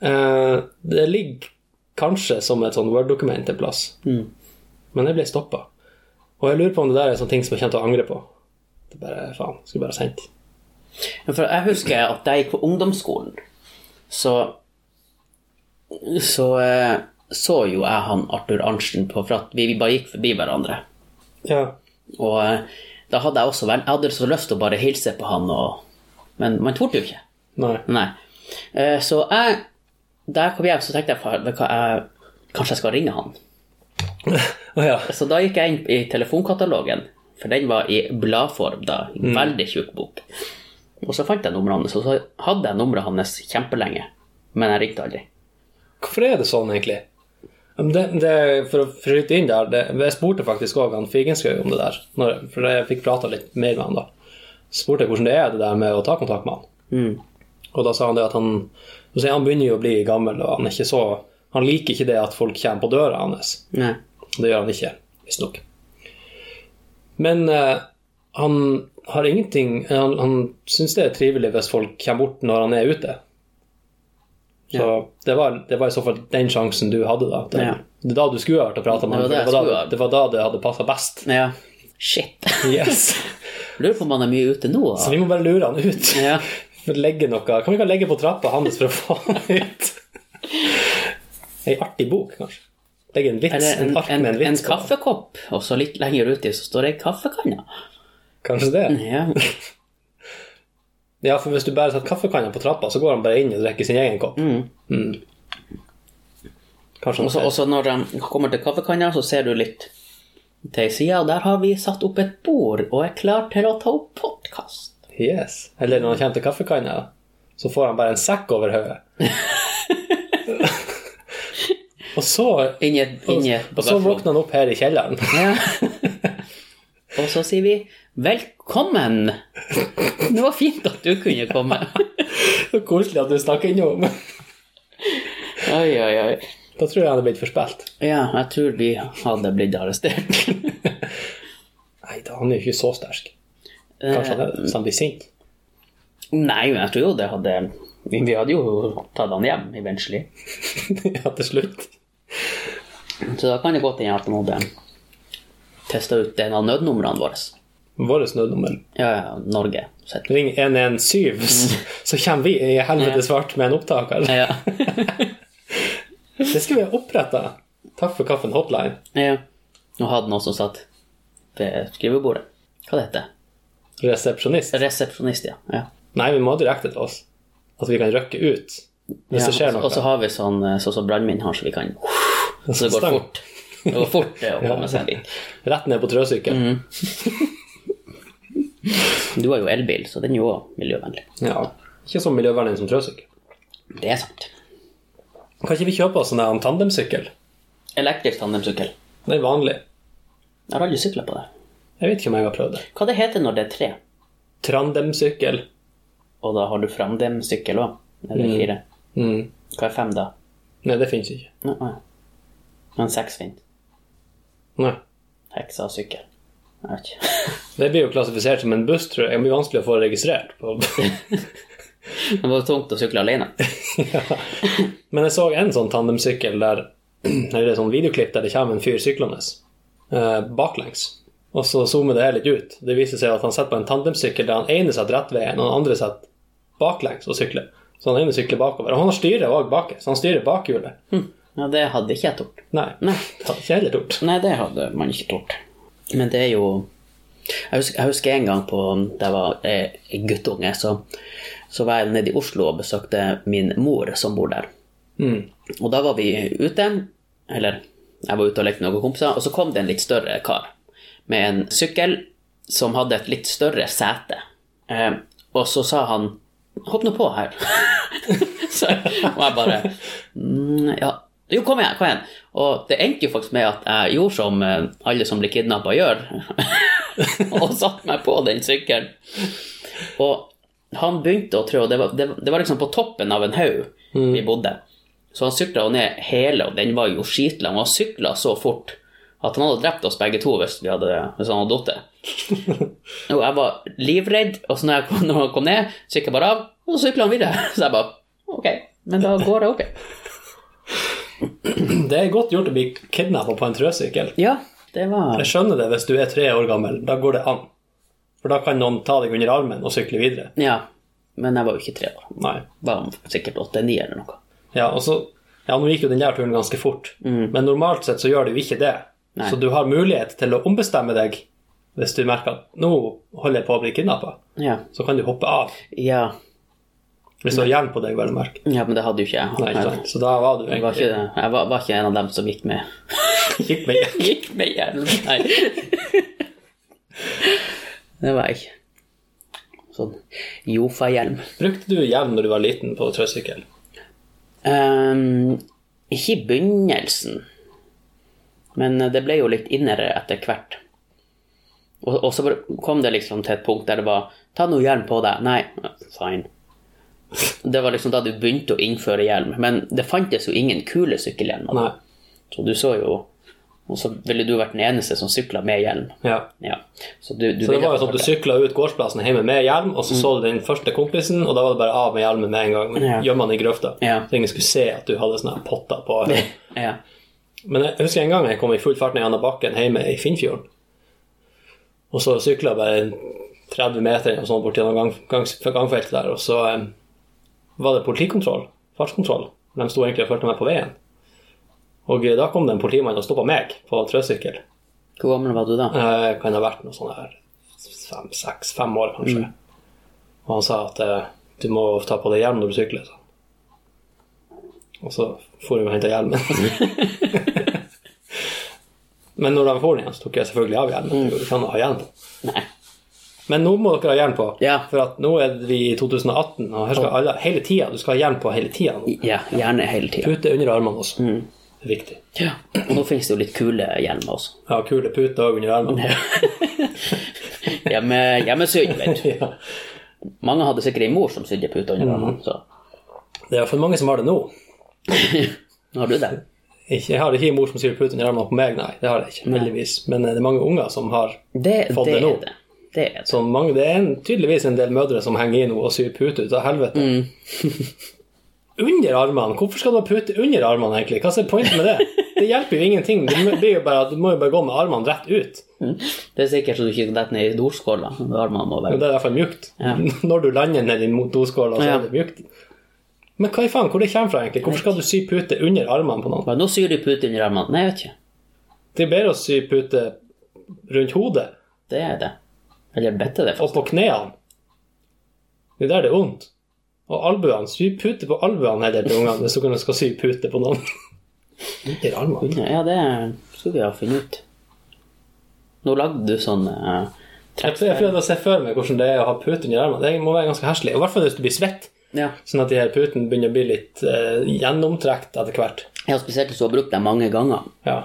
Eh, det ligger kanskje som et sånn Word-dokument en plass.
Mm.
Men jeg ble stoppa. Og jeg lurer på om det der er en sånn ting som jeg kommer til å angre på. Det er bare, faen, skulle bare sendt.
For jeg husker at da jeg gikk på ungdomsskolen, så så, eh, så jo jeg han Arthur Arntzen på For at vi, vi bare gikk forbi hverandre.
Ja.
Og eh, da hadde jeg også vel, jeg hadde så lyst til å bare hilse på han, og, men man torde jo ikke.
Nei.
Nei. Eh, Så jeg Da jeg kom hjem, så tenkte jeg "Faen, vet du hva, jeg, kanskje jeg skal ringe han.
Å ja.
Så da gikk jeg inn i telefonkatalogen, for den var i bladform da. i
Mm.
en Veldig tjukk bok. Og så fant jeg nummeret hans, og så hadde jeg nummeret hans kjempelenge. Men jeg ringte aldri.
Hvorfor er det sånn, egentlig? Men Det, det, for å fryte inn der, det, jeg spurte faktisk òg Figenschou om det der, når, for jeg fikk prata litt mer med han da. Så spurte jeg hvordan det er det der med å ta kontakt med han. Og da sa han det at han så sier han begynner jo å bli gammel, og han er ikke så Han liker ikke det at folk kommer på døra hans.
Nei.
Det gjør han ikke, visstnok. Men eh, han har ingenting Han, han syns det er trivelig hvis folk kommer bort når han er ute. Så det, var, det var i så fall den sjansen du hadde, da. Det,
Ja.
det er da du skulle ha vært og prata med ham.
Det var det
Det, var
jeg skulle
da-
ha.
det var da det hadde passa best.
Ja. Shit.
Yes.
Lurer på om han er mye ute nå.
Så vi må bare lure han ut.
Ja.
Legge noe Kan vi ikke legge på trappa hans for å få han ut? Ei artig bok, kanskje. Legge en vits,
Eller en,
en ark
en,
med en
en,
vits på.
kaffekopp, og så litt lenger uti så står det ei kaffekanne.
Kanskje det.
Ja.
Ja, for hvis du bare setter kaffekanna på trappa, så går han bare inn og drikker sin egen kopp. Mm. Kanskje
Og så-
han
Og så når de kommer til kaffekanna, så ser du litt til ei side, og der har vi satt opp et bord og er klar til å ta opp podkast.
Yes. Eller når han kommer til kaffekanna, så får han bare en sekk over hodet. og så
Inni et
og,
inni
og så våkner han opp her i kjelleren.
Ja. Og så sier vi 'velkommen'. Det var fint at du kunne komme.
Så koselig at du snakker innom.
Oi, oi, oi.
Da tror jeg han er blitt forspilt.
Ja, jeg tror vi hadde blitt arrestert.
Nei, da, han er jo ikke så sterk. Kanskje han, er, så han blir sint.
Nei, men jeg tror jo det hadde Vi vi hadde jo tatt han hjem eventually.
ja, til slutt.
Så da kan det godt hende at han hadde testa ut en av nødnumrene våre.
Vårt nødnummer.
Ja, ja, Norge. Så heter
Ring 117, så- så kommer vi i helvete svart med en opptaker.
det. Ja,
Det skulle vi ha oppretta. Takk for kaffen hotline.
ja. Og hadde noen som satt ved skrivebordet. Hva det heter
Resepsjonist.
Resepsjonist, ja. ja.
Nei, vi må direkte til oss. At vi kan røkke ut hvis det skjer
Ja,
noe.
Og så har vi sånn eh, sånn som brannmenn har, så vi kan Så det går
Altså, Stang.
fort. Det går fort det, å komme seg dit.
Rett ned på trøsykkelen.
Mhm. Du har jo elbil, så den er jo også miljøvennlig.
Ja. Ikke så miljøvennlig som trøsykkel.
Det er sant.
Kan ikke vi kjøpe oss en her tandemsykkel?
Elektrisk tandemsykkel.
Det er vanlig.
Jeg har aldri sykla på det.
Jeg vet ikke om jeg har prøvd det.
Hva det heter når det er tre,
Trandemsykkel.
og da har du framdemsykkel òg? Eller fire?
Mm.
Hva er fem, da?
Nei, det fins ikke.
Nei, nei. Men seks fint.
Nei.
Heksa sykkel. Jeg vet ikke.
Det blir jo klassifisert som en buss, tror jeg. Det blir vanskelig å få registrert. På.
Det var tungt å sykle alene.
Men jeg så en sånn tandemsykkel der Eller et sånn videoklipp der det kommer en fyr syklende eh, baklengs. Og så zoomer det her litt ut. Det viser seg at han sitter på en tandemsykkel der han ene sitter rett veien, og den andre sitter baklengs og sykler. Så han ene sykler bakover. Og han styrer òg bak, så han styrer bakhjulet.
Ja, det hadde ikke jeg tort.
Nei.
Nei.
Det hadde ikke heller tort.
Nei, det hadde man ikke tort. Men det er jo Jeg husker, jeg husker en gang på, da jeg var eh, guttunge, så, så var jeg nede i Oslo og besøkte min mor som bor der.
Mm.
Og da var vi ute, eller jeg var ute og lekte med noen kompiser, og så kom det en litt større kar med en sykkel som hadde et litt større sete. Eh, og så sa han 'Hopp nå på her'. så, og jeg bare mm, Ja. Jo, kom igjen, kom igjen. Og det endte jo faktisk med at jeg gjorde som eh, alle som blir kidnappa gjør, og satte meg på den sykkelen. Og han begynte å trå, det var, det, det var liksom på toppen av en haug vi bodde. Så han sykla jo ned hele, og den var jo skitlang. Og han sykla så fort at han hadde drept oss begge to hvis, vi hadde, hvis han hadde falt. Og jeg var livredd, og så når, jeg kom, når han kom ned, så gikk jeg bare av, og så sykla han videre. Så jeg bare Ok, men da går jeg opp igjen.
Det er godt gjort å bli kidnappa på en trøsykkel.
Ja, det var
Jeg skjønner det hvis du er tre år gammel. Da går det an. For da kan noen ta deg under armen og sykle videre.
Ja. Men jeg var jo ikke tre år.
Nei.
Var sikkert åtte-ni eller noe.
Ja, og så Ja, nå gikk jo den der turen ganske fort, men normalt sett så gjør du ikke det.
Mm. Nei.
Så du har mulighet til å ombestemme deg hvis du merker at nå holder jeg på å bli kidnappa.
Ja.
Så kan du hoppe av
ja.
hvis du har jern på deg, vel å merke.
Ja, men det hadde jo ikke jeg.
Nei, ikke sant? Så da var du
Jeg var
egentlig
ikke, jeg var, var ikke en av dem som gikk med
Gikk med
Gikk med hjelm. Nei. Det var jeg ikke. Sånn Jofa-hjelm.
Brukte du hjelm når du var liten på trøsykkel?
Ehm, ikke i begynnelsen, men det ble jo litt innere etter hvert. Og, og så bare kom det liksom til et punkt der det var Ta nå hjelm på deg. Nei, ja, fine. Det var liksom da du begynte å innføre hjelm. Men det fantes jo ingen kule sykkelhjelmer.
Nei.
Så du så jo Og så ville du vært den eneste som sykla med hjelm.
Ja.
Ja. Så, du, du
Så det
ville
var jo
ha
sånn at
vært
du sykla ut gårdsplassen hjemme med hjelm, og så så du den første kompisen, og da var det bare av med hjelmen med en gang. Men
Mm. Ja.
Gjemme den i grøfta.
Ja.
Så ingen skulle se at du hadde sånne her potter på.
der. Ja.
Men jeg husker en gang jeg kom i full fart ned gjennom bakken hjemme i Finnfjorden. Og så sykla jeg bare 30 meter eller noe sånt bort gjennom gang, gang, gangfeltet der, og så eh, var det politikontroll, fartskontroll. De sto egentlig og fulgte meg på veien. Og eh, da kom det en politimann og stoppa meg på trøsykkel.
Hvor gammel var du da?
Eh, kan ha vært noe sånn her fem, seks, fem år kanskje.
Mm.
Og han sa at eh, du må ta på deg hjelm når du sykler. sa han. Og så for vi og henta hjelmen.
Mm.
Men når de får den igjen, så tok jeg selvfølgelig av hjelmen. for Du kan ha hjelm på.
Mm. Nei.
Men nå må dere ha hjelm på,
Ja.
for at nå er vi i 2018, og her skal alle hele tida, du skal ha hjelm på hele tida.
Ja, gjerne hele tida.
Pute under armene også.
Mm.
Det er viktig.
Ja. Og nå finnes det jo litt kule hjelmer også.
Ja, kule puter òg under armene.
Hjemme, hjemmesydd, vet du.
Ja.
Mange hadde sikkert ei mor som sydde puter under armene, så
Det er for mange som har det nå.
nå har du det.
Ikke, jeg har ikke en mor som sier pute under armene på meg, nei. Det har jeg ikke, heldigvis. Men eh, det er mange unger som har
Det,
Fått
det
det nå.
er det. Det er det.
så mange, Det er en, tydeligvis en del mødre som henger i nå og syr pute ut av helvete.
Mm.
under armene? Hvorfor skal du ha pute under armene, egentlig? Hva er pointet med det? Det hjelper jo ingenting. Du må, blir jo bare, at du må jo bare gå med armene rett ut.
Mm. Det er sikkert så du ikke detter ned i dorskåla. Armene må
Men
være
Det er derfor mjukt.
Ja.
Når du lander ned i mot doskåla, så
Ja.
er det mjukt. Men hva i faen, hvor det kommer fra, egentlig? Hvorfor skal du sy pute under armene på noen?
Hva, Nå syr du puter under armene. Nei, jeg vet ikke.
Det er bedre å sy pute rundt hodet.
Det er det. Eller bedte det,
og på knærne. Det er der det er vondt. Og albuene. Sy pute på albuene heter det til ungene hvis dere skal sy pute på noen. Under armene.
faktisk. Ja, det skulle vi ha funnet ut. Nå lagde du sånn eh,
Jeg tror- jeg prøvde å se for meg hvordan det er å ha pute under armene. Det må være ganske herselig. I hvert fall hvis du blir svett,
ja.
sånn at de her putene begynner å bli litt eh, gjennomtrekt etter hvert.
Ja, spesielt hvis du har brukt dem mange ganger.
Ja.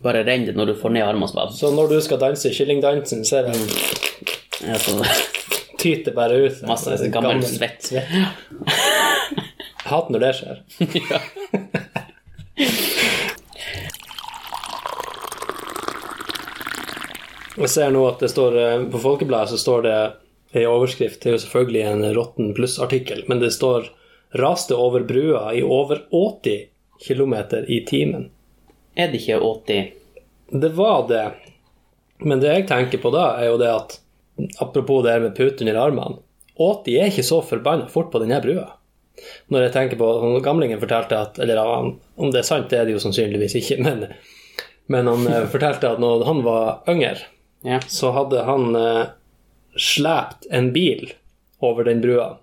Bare renn det når du får ned armene. Så bare,
Så når du skal danse kyllingdansen, så er
Mm.
det
ja, så,
tyter bare ut.
masse gammel svett.
Jeg hater når det skjer. Jeg ser nå at det står eh, på Folkebladet så står det i overskrift, det er jo selvfølgelig en Rotten Pluss-artikkel, men det står 'Raste over brua i over 80 km i timen'.
Er det ikke 80?
Det var det. Men det jeg tenker på da, er jo det at Apropos det her med pute under armene. 80 er ikke så forbanna fort på denne brua. Når jeg tenker på Gamlingen fortalte at Eller han- om det er sant, det er det jo sannsynligvis ikke, men Men han eh, fortalte at når han var yngre,
Ja.
så hadde han eh, slept en bil over den brua.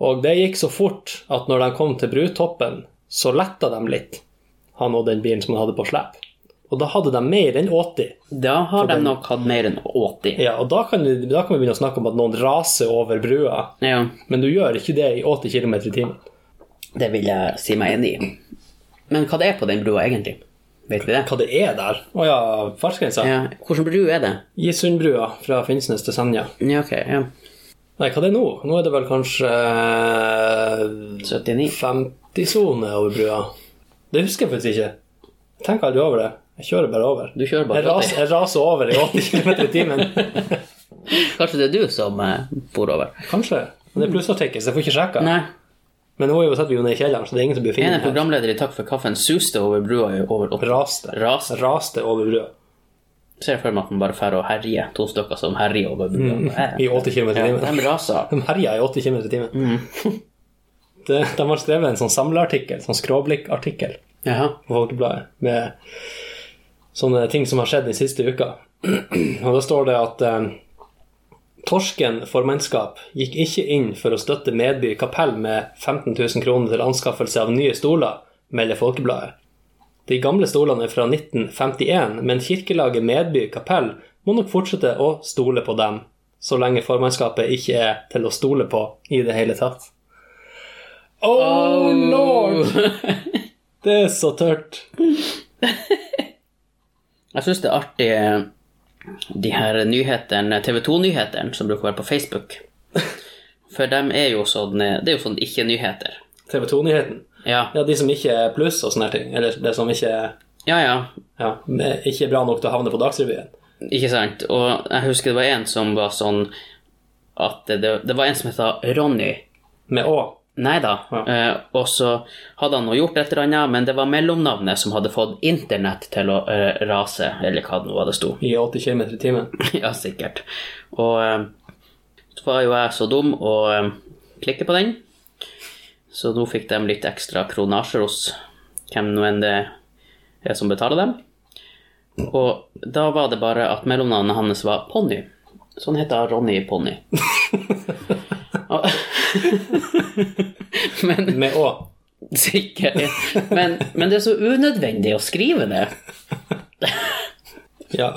Og det gikk så fort at når de kom til brutoppen, så letta de litt, han og den bilen som han hadde på slep. Og da hadde de mer enn 80.
Da har de nok hatt mer enn 80.
Ja, og da kan, vi, da kan vi begynne å snakke om at noen raser over brua,
Ja,
men du gjør ikke det i 80 km i timen.
det vil jeg si meg enig i. Men hva det er på den brua, egentlig? Vet vi det?
Hva det er der? Å ja, fartsgrensa?
Ja. Hvilken bru er det?
Gisundbrua fra Finnsnes til Senja.
Ja, ok. Ja.
Nei, hva det er nå? Nå er det vel kanskje eh,
79.
50-sone over brua. Det husker jeg faktisk ikke. Jeg tenker aldri over det. Jeg kjører bare over.
Du kjører bare
jeg, raser,
80.
jeg raser over i 80 km i timen.
Kanskje det er du som eh, bor over?
Kanskje. Men det er plussartikkel, så jeg får ikke sjekka.
Nei.
Men nå er jo satt vi jo ned i kjelleren, så det er ingen som blir
En
funnet.
av
her.
programlederne i Takk for kaffen suste over brua i over 80.
Raste.
Raste.
Raste over brua.
Ser jeg for meg at man bare drar og herjer. To stykker som herjer over brua.
I 80 km i
Ja, Mm.
timen.
de raser.
De herja i 80 km i timen. det, de har skrevet en sånn samleartikkel, sånn skråblikkartikkel.
Jaha.
på Folkebladet med sånne ting som har skjedd den siste uka. Og da står det at eh, Torsken formannskap gikk ikke inn for å støtte Medby kapell med 15 000 kroner til anskaffelse av nye stoler, melder Folkebladet. De gamle stolene er fra 1951, men kirkelaget Medby kapell må nok fortsette å stole på dem, så lenge formannskapet ikke er til å stole på i det hele tatt. oh lord! Det er så tørt.
Jeg syns det er artig eh, de her nyhetene, TV 2-nyhetene som bruker å være på Facebook. For dem er jo sånn eh, Det er jo sånn ikke-nyheter.
TV 2-nyheten.
Ja.
Ja, de som ikke er pluss og sånne her ting. Eller det som ikke,
ja, ja.
ja, ikke er bra nok til å havne på Dagsrevyen.
Ikke sant. Og jeg husker det var en som var sånn at det, det var en som het Ronny.
Med Å.
Nei da.
Ja.
Eh, og så hadde han nå gjort et eller annet, men det var mellomnavnet som hadde fått internett til å eh, rase, eller hva det nå var det sto.
I 80 km i timen.
ja, sikkert. Og eh, så var jo jeg så dum å eh, klikke på den. Så nå fikk de litt ekstra kronasjer hos hvem nå enn det er som betaler dem. Og da var det bare at mellomnavnet hans var Ponni. Så han heter Ronny Ponni. Og- men
Med Å.
sikkert men, men det er så unødvendig å skrive det.
Ja.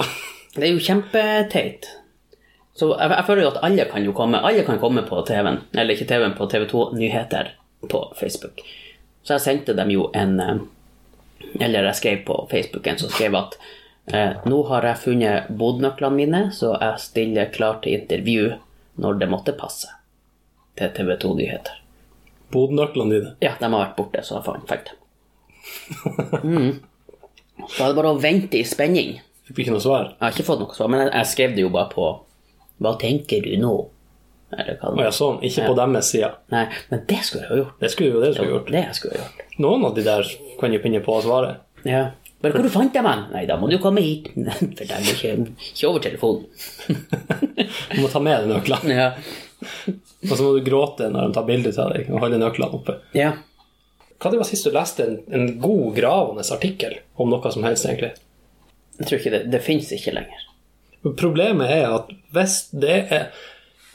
Det er jo kjempeteit. Så jeg, jeg føler jo at alle kan jo komme Alle kan komme på TV-en, eller ikke TV-en, på TV2 Nyheter på Facebook. Så jeg sendte dem jo en eh, Eller jeg skrev på Facebooken som skrev at eh, nå har jeg funnet bodnøklene mine, så jeg stiller klar til intervju når det måtte passe. Til TV2 Nyheter.
Bodnøklene dine.
Ja, de har vært borte, så jeg faen fikk dem. Mm. Så er det bare å vente i spenning.
Fikk vi ikke noe svar?
Jeg har ikke fått noe svar, men jeg- jeg skrev det jo bare på Hva tenker du nå? Eller hva det
Å
var.
ja, sånn. Ikke på deres side.
Nei, men det skulle jeg ha gjort.
Det skulle jo det skulle gjort.
Det jeg skulle ha gjort.
Noen av de der kan jo finne på å svare.
Ja. Men hvor fant jeg meg? Nei, da må du komme hit. For det er ikke, ikke over telefonen.
Du må ta med deg nøklene.
Ja.
Og så må du gråte når de tar bilde av deg og holde nøklene oppe.
ja.
Hva det var sist du leste en, en god, gravende artikkel om noe som helst, egentlig?
Jeg tror ikke det Det fins ikke lenger.
Problemet er at hvis det er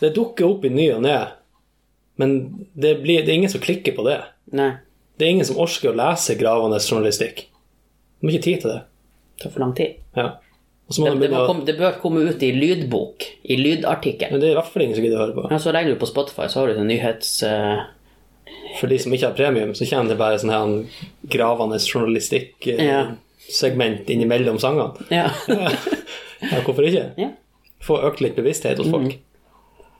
Det dukker opp i ny og ne, men det, blir, det er ingen som klikker på det.
Nei.
Det er ingen som orker å lese gravende journalistikk. De har ikke tid til det.
Det tar for lang tid.
Ja. Og så må de
Det, det,
begynne
må
å
komme, det bør komme ut i lydbok. I lydartikkel.
Men det er i hvert fall ingen som gidder å høre på.
Ja, så legger du på Spotify, så har du den nyhets... eh,
For de som ikke har premium, så kommer det bare sånn her en gravende
Ja.
journalistikk-segment innimellom sangene.
ja.
Ja, hvorfor ikke?
Ja. Mm.
Få økt litt bevissthet hos folk.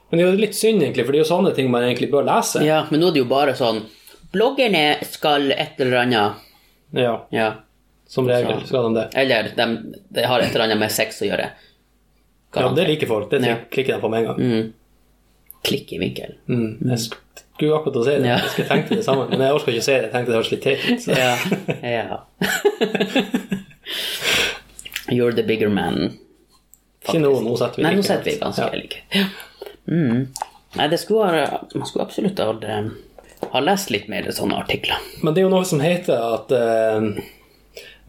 Men det er jo litt synd, egentlig, for det er jo sånne ting man egentlig bør lese.
ja, men nå er det jo bare sånn Bloggerne skal et eller annet
Ja,
Ja.
som regel skal de det.
Eller de, de har et eller annet med sex å gjøre.
Ja, det
Garantert.
liker folk. Det
Ja.
klikker de på med en gang.
Mm. Klikk i vinkel.
Mm. Jeg skulle akkurat til å si det.
Ja.
Jeg skulle tenkt det samme, men jeg orker ikke å si det. Jeg tenkte det hørtes litt teit ut. så-
Ja. ja. You're the bigger man.
Ikke nå. Nå setter vi
Nei, nå
like
sitter vi
høyt.
ganske
ja.
like. Ja. Mm. Nei, det skulle, ha- man skulle absolutt ha, ha lest litt mer sånne artikler.
Men det er jo noe som heter at eh,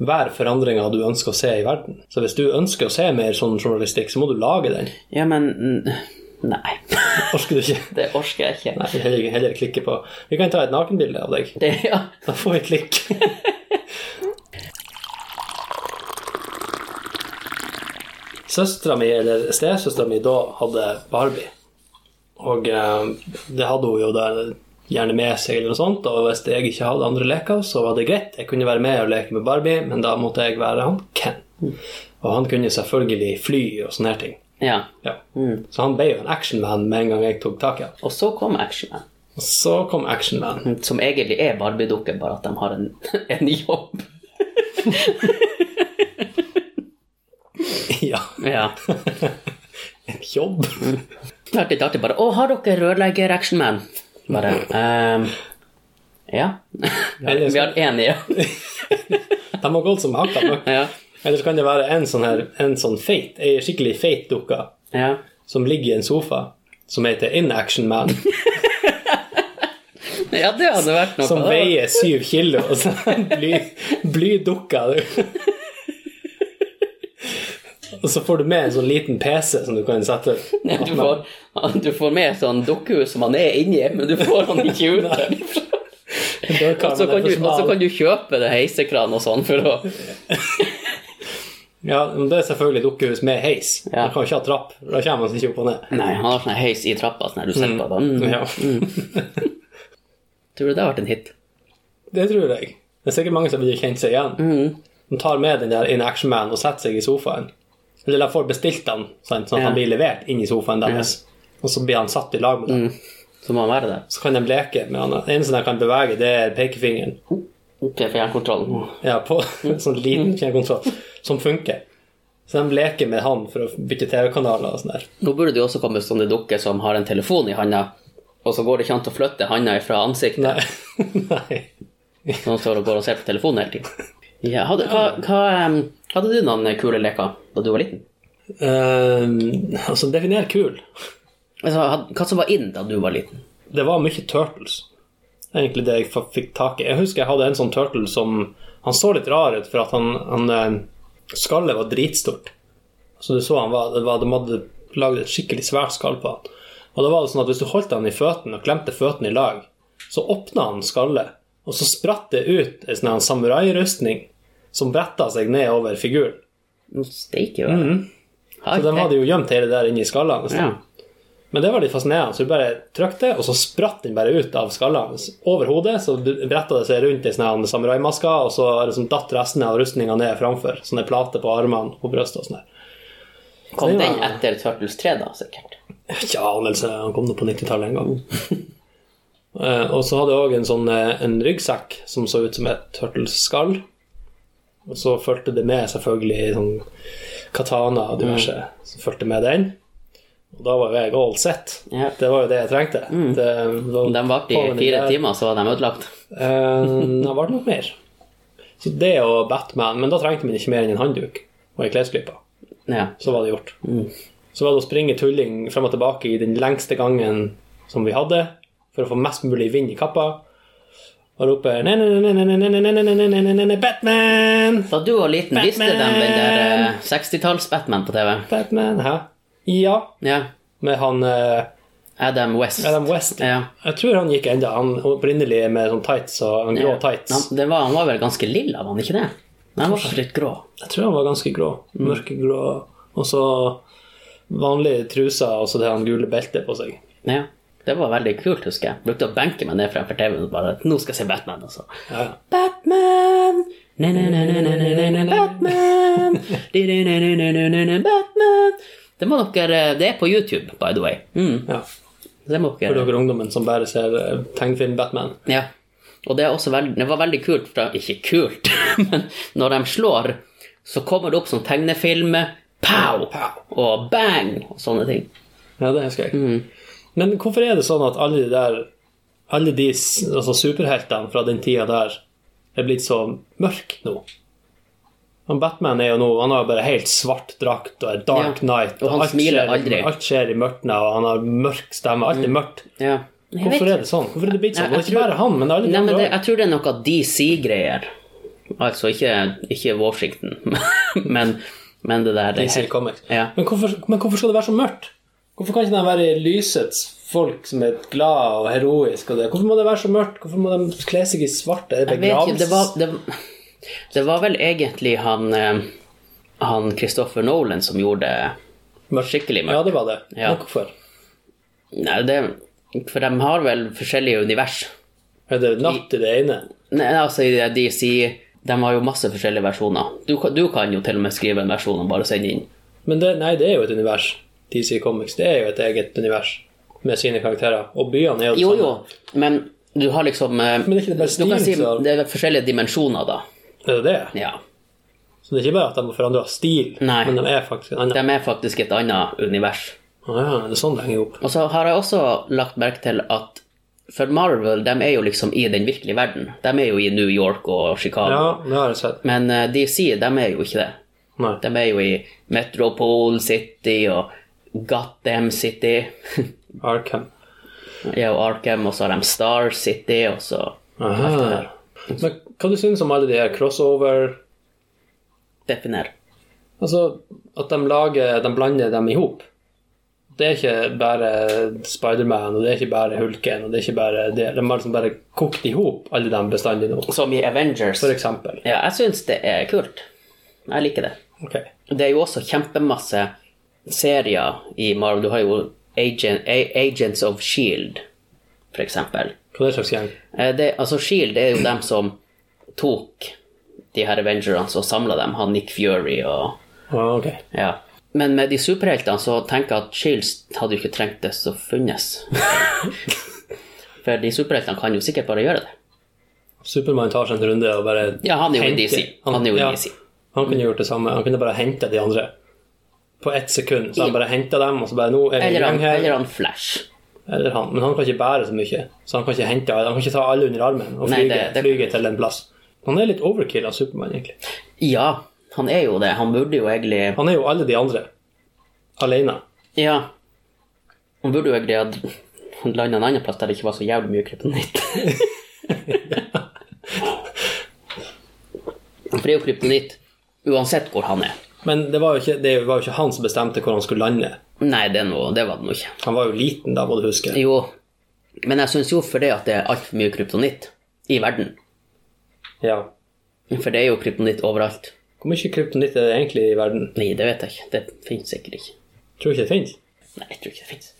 hver forandringa du ønsker å se i verden. Så hvis du ønsker å se mer sånn journalistikk, så må du lage den.
Ja, men mm, Nei.
Orker du ikke?
Det orker jeg ikke.
Nei, heller, heller klikke på Vi kan ta et nakenbilde av deg.
Det, ja.
Da får vi klikk. Søstera mi, eller stesøstera mi, da hadde Barbie. Og eh, det hadde hun jo da gjerne med seg, eller noe sånt. Og hvis jeg ikke hadde andre leker, så var det greit. Jeg kunne være med og leke med Barbie, men da måtte jeg være han Ken. Og han kunne selvfølgelig fly og sånne her ting.
ja.
Ja. Så han ble jo en actionman med en gang jeg tok tak i han.
Og så kom actionen.
Og så kom actionman.
Som egentlig er Barbie-dukker, bare at de har en, en jobb.
ja.
Ja.
En jobb.
Det er litt artig bare Å, har dere rørlegger-actionman? Bare ehm, Ja.
Eller-
Vi har én i
De har gått som hakka møkk.
ja.
Eller så kan det være en sånn her, en sånn feit, ei skikkelig feit dukke
ja.
som ligger i en sofa, som heter In Action Man,
Ja, det hadde vært noe.
som
Å,
veier syv kilo, og så er det bly, blydukka. Og så får du med en sånn liten PC som du kan sette
Du får, du får med sånn dukkehus som han er inni, men du får han ikke ut. derifra. Og så kan, du- og så kan du kjøpe det heisekran og sånn for å
Ja, men det er selvfølgelig dukkehus med heis.
Ja.
Du kan ikke ha trapp, for da kommer man ikke opp og ned.
Nei, han har sånn heis i trappa sånn her du ser på den.
Ja.
Mm. Tror du det har vært en hit?
Det tror jeg. Det er sikkert mange som vil kjenne seg igjen. De tar med den der In Action Man og setter seg i sofaen. Eller de får bestilt den, sant? sånn at
Ja.
han blir levert inn i sofaen deres. Og så blir han satt i lag med dem.
Så må han være det.
Så kan de leke med han. Det eneste de kan bevege, det er pekefingeren.
Oh, Ok, fjernkontrollen.
Ja, på en sånn liten fjernkontroll som funker. Så de leker med han for å bytte TV-kanaler og sånn der.
Nå burde det jo også komme sånne dukker som har en telefon i handa, og så går det ikke an til å flytte handa ifra ansiktet.
Nei. Nei.
Noen står og går og ser på telefonen hele tiden. Ja, hadde, hva, hva, em, hadde du noen kule leker da du var liten?
Ehm, altså, definer kul.
Altså, had- hva som var inn da du var liten?
Det var mye turtles. Det er Egentlig det jeg fa- fikk tak i. Jeg husker jeg hadde en sånn turtle som Han så litt rar ut, for at han, han eh, Skallet var dritstort. Så du så han var, det var De hadde lagd et skikkelig svært skall på han. Og da var det sånn at hvis du holdt han i føttene og klemte føttene i lag, så åpna han skallet, og så spratt det ut en sånn her samurairustning som bretta seg ned over figuren.
Nå Steiker jo. Mm.
Mhm. Så de hadde jo gjemt hele det der inni skallene.
Ja.
Men det var litt fascinerende. Så du bare trykte, og så spratt den bare ut av skalla hans. Over hodet så bretta det seg rundt i sånne her samuraimasker, og så liksom datt resten av rustninga ned framfor. Sånne plater på armene og brystet og sånn. her.
Kom
det var-
den etter Turtles 3 da, sikkert?
Ikke anelse, han kom nå på 90-tallet en gang. Eh, og så hadde jeg òg en sånn eh, en ryggsekk som så ut som et turtleskall. Og så fulgte det med selvfølgelig sånn katana og diverse.
Mm.
Så fulgte med den. Og da var jo jeg all set.
Ja.
Det var jo det jeg trengte. Det var-
De varte i
Påven
fire
der.
timer, så var de ødelagt.
Eh, Da var det nok mer. Så det og Batman, men da trengte man ikke mer enn en handduk og ei klesklype.
Ja.
Så var det gjort. Så var det å springe tulling frem og tilbake i den lengste gangen som vi hadde, for å få mest mulig vind i kappa, og rope «Ne-ne-ne-ne-ne-ne-ne-ne-ne-ne-ne-ne-ne-ne-ne, Batman!
Da du var liten, visste de
Batman!
den der eh, 60-talls-Batman på TV?
Batman, hæ? Ja,
Ja.
med han eh,
Adam West.
Adam West.
Ja.
Jeg tror han gikk enda, han opprinnelig med sånn tights og en grå tights.
Han, den var, han var vel ganske lilla, var han ikke det? Nei, han var kanskje litt grå.
Jeg tror han var ganske grå. Mørkegrå. Og så vanlige truser, og så det han gule beltet på seg.
Ja. Det var veldig kult, husker jeg. Brukte å benke meg ned fremfor TV-en og bare Nå skal jeg se Batman, altså.
Ja.
Batman! Ne-ne-ne-ne-ne-ne-ne, Batman! Di-di-ne-ne-ne-ne-ne, Batman! Det må dere eh, Det er på YouTube, by the way. Mm,
ja.
det må
For
dere
dere ungdommen som bare ser eh, tegnefilm-Batman.
Ja. Og det, er også veld, det var veldig kult, fra, ikke kult, men når de slår, så kommer det opp sånn tegnefilm Pow! Og bang! Og sånne ting.
Ja, det husker jeg.
Mm.
Men hvorfor er det sånn at alle de der alle de s- altså superheltene fra den tida der er blitt så mørke nå? Han Batman er jo nå Han har bare helt svart drakt og er Dark
Ja.
Knight.
Og han smiler
skjer,
aldri.
Alt skjer i mørket, og han har mørk stemme. Alt er mørkt.
Ja. Jeg vet
Hvorfor
ikke.
er det sånn? Hvorfor er det blitt sånn?
Nei,
Og
jeg
ikke bare han, men alle de
Nei, men
andre
det,
også.
jeg tror det er noe DC-greier. Altså ikke, ikke Washington, men, men det der det er
DC
helt-
Comics.
Ja.
Men, hvorfor, men hvorfor skal det være så mørkt? Hvorfor kan ikke de være lysets folk som er glad og heroisk og det? Hvorfor må det være så mørkt? Hvorfor må de kle seg i svart? Er det
Jeg vet ikke, det var,
begravelse?
det, det var vel egentlig han eh, Han Christopher Nolan som gjorde det
Mørkt.
skikkelig
Ja,
mørkt.
det var det.
Ja.
Men hvorfor?
Nei, det, for de har vel forskjellige univers.
Er det natt i det ene?
Nei, altså i det DC De har jo masse forskjellige versjoner. Du, kan- du kan jo til og med skrive en versjon og bare sende inn.
Men det, nei, det er jo et univers. DC Comics det er jo et eget univers med sine karakterer. Og byene er jo det
Jo,
samme.
jo, men du har liksom eh,
Men det er ikke det bare
Du kan
stilen
si
som-
det er forskjellige dimensjoner, da.
Er det det?
Ja.
Så det er ikke bare at de har forandra stil,
Nei.
men de er faktisk en annen.
De er faktisk et annet univers.
Å ja, det er sånn det henger opp.
Og så har jeg også lagt merke til at for Marvel, de er jo liksom i den virkelige verden. De er jo i New York og Chicago.
Ja, det har jeg sett.
Men eh, DC, de er jo ikke det.
Nei.
De er jo i Metropole City og Gotham City.
Arkham.
ja, og Arkham, og så har de Star City, og så
Aha. Men hva du synes om alle de her crossover
Definer.
Altså at de lager De blander dem i hop. Det er ikke bare Spiderman, og det er ikke bare Hulken, og det er ikke bare det. De har liksom bare kokt i hop alle de bestandig nå,
Som i Avengers.
for eksempel.
Ja, jeg syns det er kult. Jeg liker det.
Ok.
Det er jo også kjempemasse serier i Marvel. Du har jo Agent, A- Agents of Shield, E for eksempel.
Hva er det slags gjeng?
Eh, Det, altså Shield er jo dem som tok de her Avengerene og samla dem, han Nick Fury og
Ah, ok.
ja. Men med de superheltene så tenker jeg at Shield E hadde jo ikke trengt det som funnes. For de superheltene kan jo sikkert bare gjøre det.
Supermann tar seg en runde og bare
Ja, han er jo i
henter-
DC. Han er jo i
ja,
DC.
Han kunne gjort det samme. Han kunne bare hente de andre på ett sekund. Så han bare henta dem, og så bare Nå er vi i
Eller han,
gang her.
eller han Flash.
Eller han, men han kan ikke bære så mye, så han kan ikke, hente, han kan ikke ta alle under armen og
Nei,
flyge,
det- det-
flyge til en plass. Han er litt overkill av Supermann, egentlig.
Ja, han er jo det. Han burde jo egentlig
Han er jo alle de andre alene.
Ja. Han burde jo egentlig ha landa en annen plass der det ikke var så jævlig mye kryptonitt. For det er jo kryptonitt uansett hvor han er.
Men det var, jo ikke, det var jo ikke han som bestemte hvor han skulle lande.
Nei, det, er noe, det var det nå ikke.
Han var jo liten da, må du huske.
Jo, men jeg syns jo for det at det er altfor mye kryptonitt i verden.
Ja.
For det er jo kryptonitt overalt.
Hvor mye kryptonitt er det egentlig i verden?
Nei, det vet jeg ikke. Det finnes sikkert ikke.
Tror ikke det finnes.
Nei, jeg tror ikke det finnes.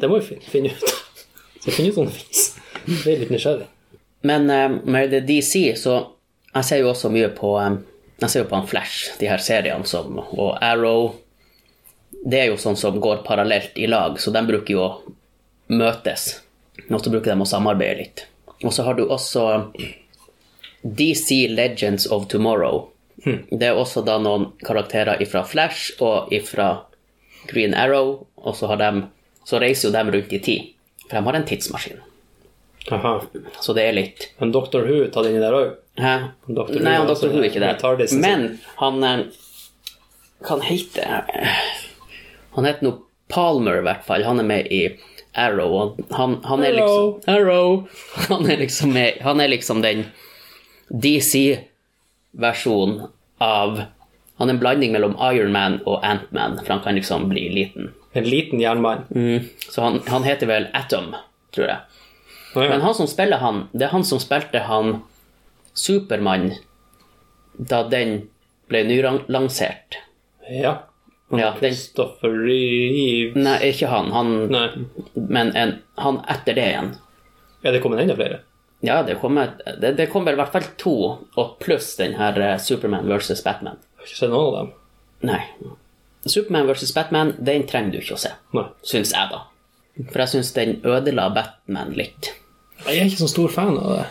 Det må vi finne, finne ut. Så finne ut om det finnes. Det er litt nysgjerrig.
Men eh, med det DC, så Jeg ser jo også mye på eh, Jeg ser jo på han Flash, de her seriene som Og Arrow. Det er jo sånn som går parallelt i lag, så de bruker jo å møtes. Og så bruker de å samarbeide litt. Og så har du også DC Legends of Tomorrow. Det er også da noen karakterer ifra Flash og ifra Green Arrow, og så, har de, så reiser jo de rundt i tid. For de har en tidsmaskin.
Aha.
Så det er litt
Men Dr. Who tatt inni der òg?
Hæ?
Dr. Who
Nei, han
er
Dr.
også-
Who er ikke
Jeg tar
det.
det som-
Men han eh, Hva han heter eh, Han heter nå Palmer, i hvert fall. Han er med i Arrow. og Han, han er liksom Arrow! Han er liksom, med, han er liksom den DC-versjonen av Han er en blanding mellom Ironman og Antman, for han kan liksom bli liten.
En liten jernmann.
Mm. Så han, han heter vel Atom, tror jeg.
Å, ja.
Men han som spiller han, det er han som spilte han Supermann da den ble nylansert.
ja.
Ja, den,
Christopher Reeve
nei, ikke han, han
Nei.
men en, han etter det igjen.
Er det kommet enda flere?
Ja, det kom, et- det, det kom vel i hvert fall to, og pluss den her eh, Superman versus Batman.
Jeg har ikke sett noen av dem.
Nei. Superman versus Batman, den trenger du ikke å se,
Nei.
syns jeg, da. For jeg syns den ødela Batman litt.
Jeg er ikke så stor fan av det.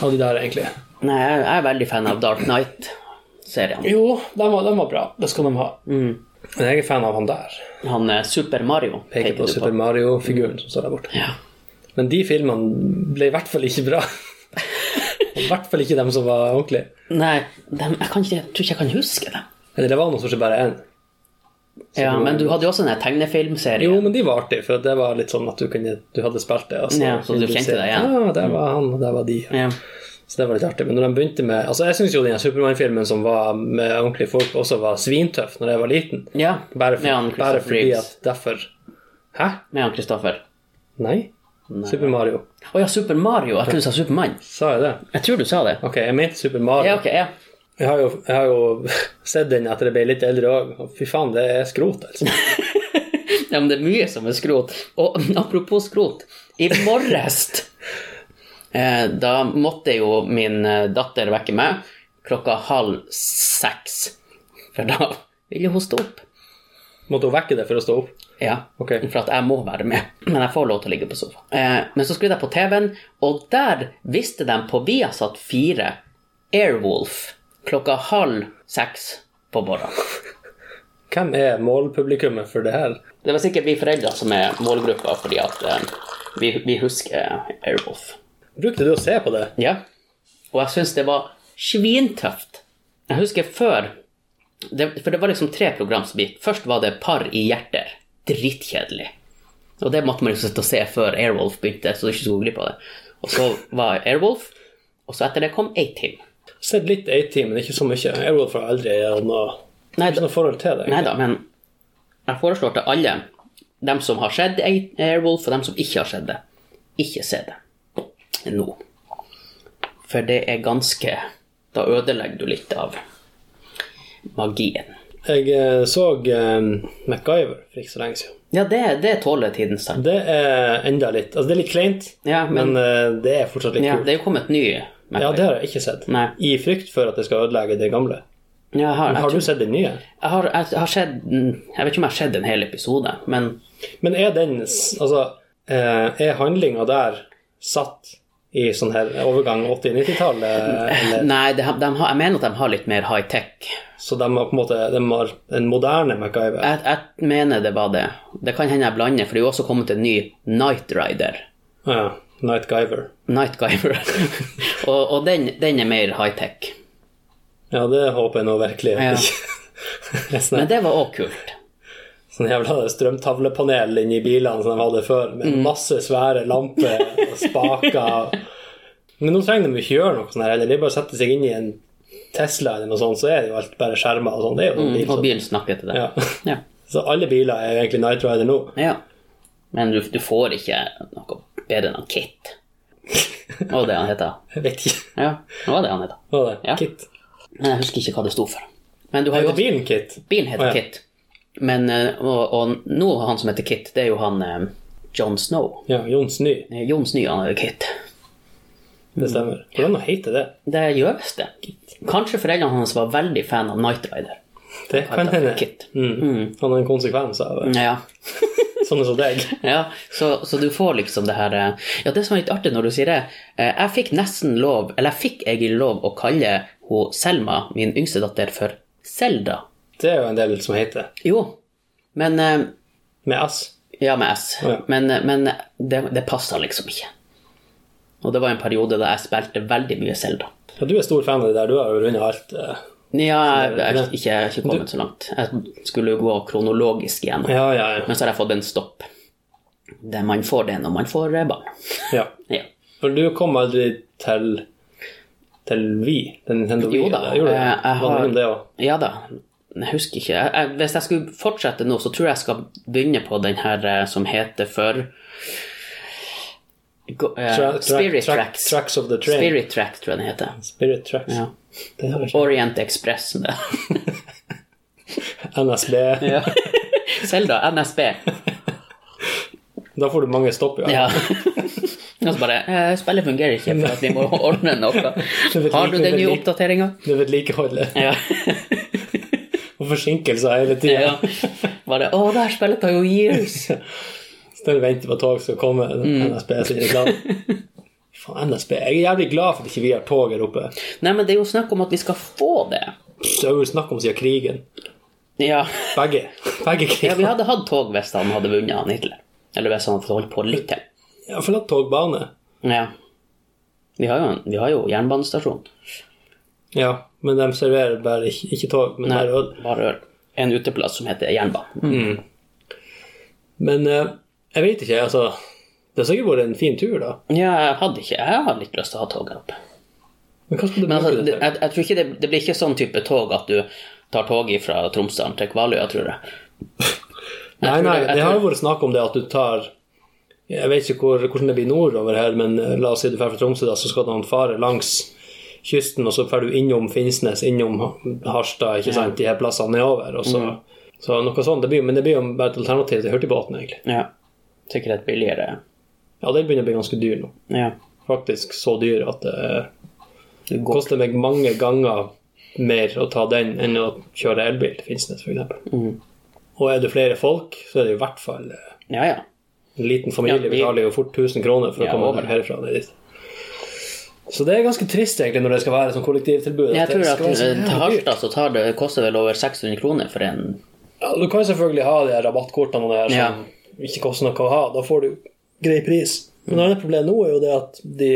Av de der, egentlig.
Nei, jeg jeg er veldig fan av Dark Knight-serien.
Jo, de var, de var bra. Det skal de ha. Men jeg er fan av han der.
Han er Super Mario.
Mm. Peker på
du
Super Mario-figuren som står der borte.
Ja.
Men de filmene ble i hvert fall ikke bra. I hvert fall ikke dem som var ordentlige.
Nei, dem, jeg, kan ikke, jeg tror ikke jeg kan huske dem.
Eller det var nå stort sett bare én.
Ja, men du hadde jo også den her
Jo,
tegnefilmserien.
men de var artige, for det var litt sånn at du, kunne, du hadde spilt det. og
Ja, så du
kunne
kjente
se-
deg igjen.
Ja, der var han, og der var de.
Ja.
Så det var litt artig. Men når de begynte med Altså, jeg syns jo den Supermann-filmen som var med ordentlige folk, også var svintøff når jeg var liten.
Ja,
Bare, for,
med han
bare
Christopher
fordi
Reeves.
at derfor Hæ?
Med han Kristoffer.
Nei? Super Mario.
Å ja, Super Mario. Jeg trodde du sa Supermann.
Sa jeg det?
Jeg tror du sa det.
Ok, jeg mente Super Mario.
Ja, ok, ja.
Jeg har jo, jeg har jo sett den etter jeg ble litt eldre òg, og fy faen, det er skrot, altså.
ja, men det er mye som er skrot. Og apropos skrot, i morges eh, Da måtte jo min eh, datter vekke meg klokka halv seks. For da ville hun stå opp.
Måtte hun vekke det for å stå opp?
Ja,
Ok.
for at jeg må være med. Men jeg får lov til å ligge på sofaen. Eh, men så skrudde jeg på TV-en, og der visste de på Viasat 4 Airwolf klokka halv seks på morgenen.
Hvem er målpublikummet for det her?
Det var sikkert vi foreldre som er målgruppa, fordi at eh, vi, vi husker Airwolf.
Brukte du å se på det?
Ja. Og jeg syns det var svintøft. Jeg husker før det, For det var liksom tre program som gikk. Først var det Par i hjerter. Dritkjedelig. Og det måtte man jo sitte og se før Airwolf begynte, så du ikke skulle gå glipp av det. Og så var Airwolf, og så etter det kom A-Team.
Sett litt A-Team, men ikke så mye. Jeg har for aldri hatt noe,
Nei,
ikke noe forhold til det.
Nei
egentlig.
da, men jeg foreslår til alle, dem som har sett A- Airwolf, og dem som ikke har sett det, ikke se det nå. For det er ganske Da ødelegger du litt av magien.
Jeg eh, så eh, MacGyver for ikke så lenge siden.
Ja, det, det tåler tidens tann.
Det er enda litt Altså, det er litt kleint,
Ja, men
men eh, det er fortsatt litt
ja,
kult.
det er jo kommet ny
Ja, det har jeg ikke sett.
Nei.
I frykt for at det skal ødelegge det gamle.
Ja, jeg, har, jeg,
Har
tror-
du sett den nye?
jeg, har, jeg har sett Jeg vet ikke om jeg har sett en hel episode, men
Men er den s- Altså, eh, er handlinga der satt i sånn her overgang 80-90-tallet? eller-
Nei, de, de har, jeg mener at de har litt mer high-tech
Så de har på en måte de har en moderne MacGyver?
Jeg, jeg mener det var det. Det kan hende jeg blander, for det er jo også kommet en ny Night Rider.
Ja. Nightgyver.
Night Giver. og og den, den er mer high-tech.
Ja, det håper jeg nå virkelig.
Ja.
ikke. sånn,
Men det var òg kult.
sånn jævla strømtavlepanel inni bilene som de hadde før, med masse svære lamper og spaker. Men nå trenger de ikke gjøre noe sånn her heller. De bare setter seg inn i en Tesla eller noe sånt, så er det jo alt bare skjermer og sånn. Det er jo en bil.
Og
sånn.
byen snakker til deg.
Ja.
Ja.
Så alle biler er egentlig Night Rider nå.
ja. Men du, du får ikke noe bedre enn han Kit. Det var det han het.
Jeg vet ikke
Ja, det var det han het.
hva det er.
Ja.
Kit.
Men Jeg husker ikke hva det sto for. Men du har jo
Heter bilen Kit?
Bilen heter
Å, ja.
Kit. Men, eh, og, og nå han som heter Kit, det er jo han eh, John Snow.
Ja, Jons Ny.
Eh, Jon Sny, han er jo Kit.
Det stemmer. Hvordan heter det?
Det gjør visst det. Kanskje foreldrene hans var veldig fan av Knight Rider.
Det kan
Heter
hende.
Kit.
Mm. Han har en konsekvens av det.
Ja,
Sånne som deg.
ja så, så du får liksom det her eh, Ja, det som er litt artig når du sier det eh, Jeg fikk nesten lov, eller jeg fikk egentlig lov å kalle hun Selma, min yngste datter, for Selda.
Det er jo en del som heter
Jo, men eh,
Med S.
Ja, med S.
Å, ja.
Men, eh, men det, det passa liksom ikke. Og det var en periode da jeg spilte veldig mye Selda.
Ja, du er stor fan av det der. Du har jo rundet alt. eh.
Ja, jeg, jeg, er ikke, jeg er ikke kommet så langt. Jeg skulle jo gå kronologisk igjennom.
Ja, ja, ja.
Men så har jeg fått en stopp. Det man får det når man får eh, barn.
ja.
Ja.
For du kom aldri til til vi, den Nintendo Wii.
Jo da,
eller? Gjorde du det?
eh, jeg
Var
har-
noen det også?
ja da, jeg husker ikke. Jeg, jeg, hvis jeg skulle fortsette nå, så tror jeg jeg skal begynne på den her eh, som heter for Go, eh,
Tra- tra-
Spirit
tra-
Tracks.
Tracks of the Train. Spirit,
Spirit Track, tror jeg den heter.
Tracks.
Ja.
Det har jeg ikke.
Orient Express. det.
NSB.
Ja. Selda, NSB.
Da får du mange stopp, ja.
Ja. Og så bare eh, Spillet fungerer ikke, for at vi må ordne noe.
vet
Har du
ikke,
den nye
vet ikke.
oppdateringa?
Det vedlikeholdet.
Ja.
Og forsinkelser hele tida.
ja. Bare Å, det her spillet tar jo years.
Står og venter på at tog skal komme.
Mm.
NSB sin reklame. Faen, NSB. Jeg er jævlig glad for at ikke vi har tog her oppe.
Nei, men det er jo snakk om at vi skal få det.
Det er jo snakk om siden krigen.
Ja,
Begge. Begge
ja vi
kriger.
hadde hatt tog hvis han hadde vunnet han Hitler. Eller hvis han hadde fått holdt på litt til.
Ja, Forlatt togbane.
Ja. Vi har jo, en, vi har jo jernbanestasjon.
Ja, men de serverer bare ikke, ikke tog, men bare øl.
Bare øl. En uteplass som heter jernbanen.
Mm. Men eh, jeg vet ikke, altså. Det har sikkert vært en fin tur, da.
Ja, jeg hadde ikke Jeg hadde litt lyst til å ha tog her oppe.
Men hva skal du
Men
bruke
altså,
det
det,
til?
jeg, jeg tror ikke det, det blir ikke sånn type tog at du tar toget fra Tromsø til Kvaløya, tror jeg.
Nei,
tror
nei,
det- jeg
det har
tror-
jo vært snakk om det at du tar Jeg vet ikke hvor, hvordan det blir nordover her, men eh, la oss si du drar fra Tromsø, da, så skal du fare langs kysten, og så drar du innom Finnsnes, innom Harstad, ikke sant, de her plassene nedover. Og så,
Mm.
så noe sånt. Det blir, jo- men det blir jo bare et alternativ til hurtigbåten, egentlig.
Ja. Sikkert et billigere
Ja, den begynner å bli ganske dyr nå.
Ja.
Faktisk så dyr at det eh,
Du går.
koster meg mange ganger mer å ta den enn å kjøre elbil til Finnsnes, f.eks.
Mhm.
Og er det flere folk, så er det i hvert fall eh,
Ja, ja.
En liten familie
Ja, vi-
betaler jo fort 1000 kroner for å
Ja,
komme
over.
herfra og ned dit. Så det er ganske trist egentlig når det skal være sånn kollektivtilbud.
Jeg
at
tror
det
at
skal være så
eh, til
jævlig dyrt.
Harstad så tar det, koster vel over 600 kroner for en
ja, Du kan selvfølgelig ha de her rabattkortene og det her som ikke koster noe å ha. Da får du grei pris. Men et annet problem nå er jo det at de,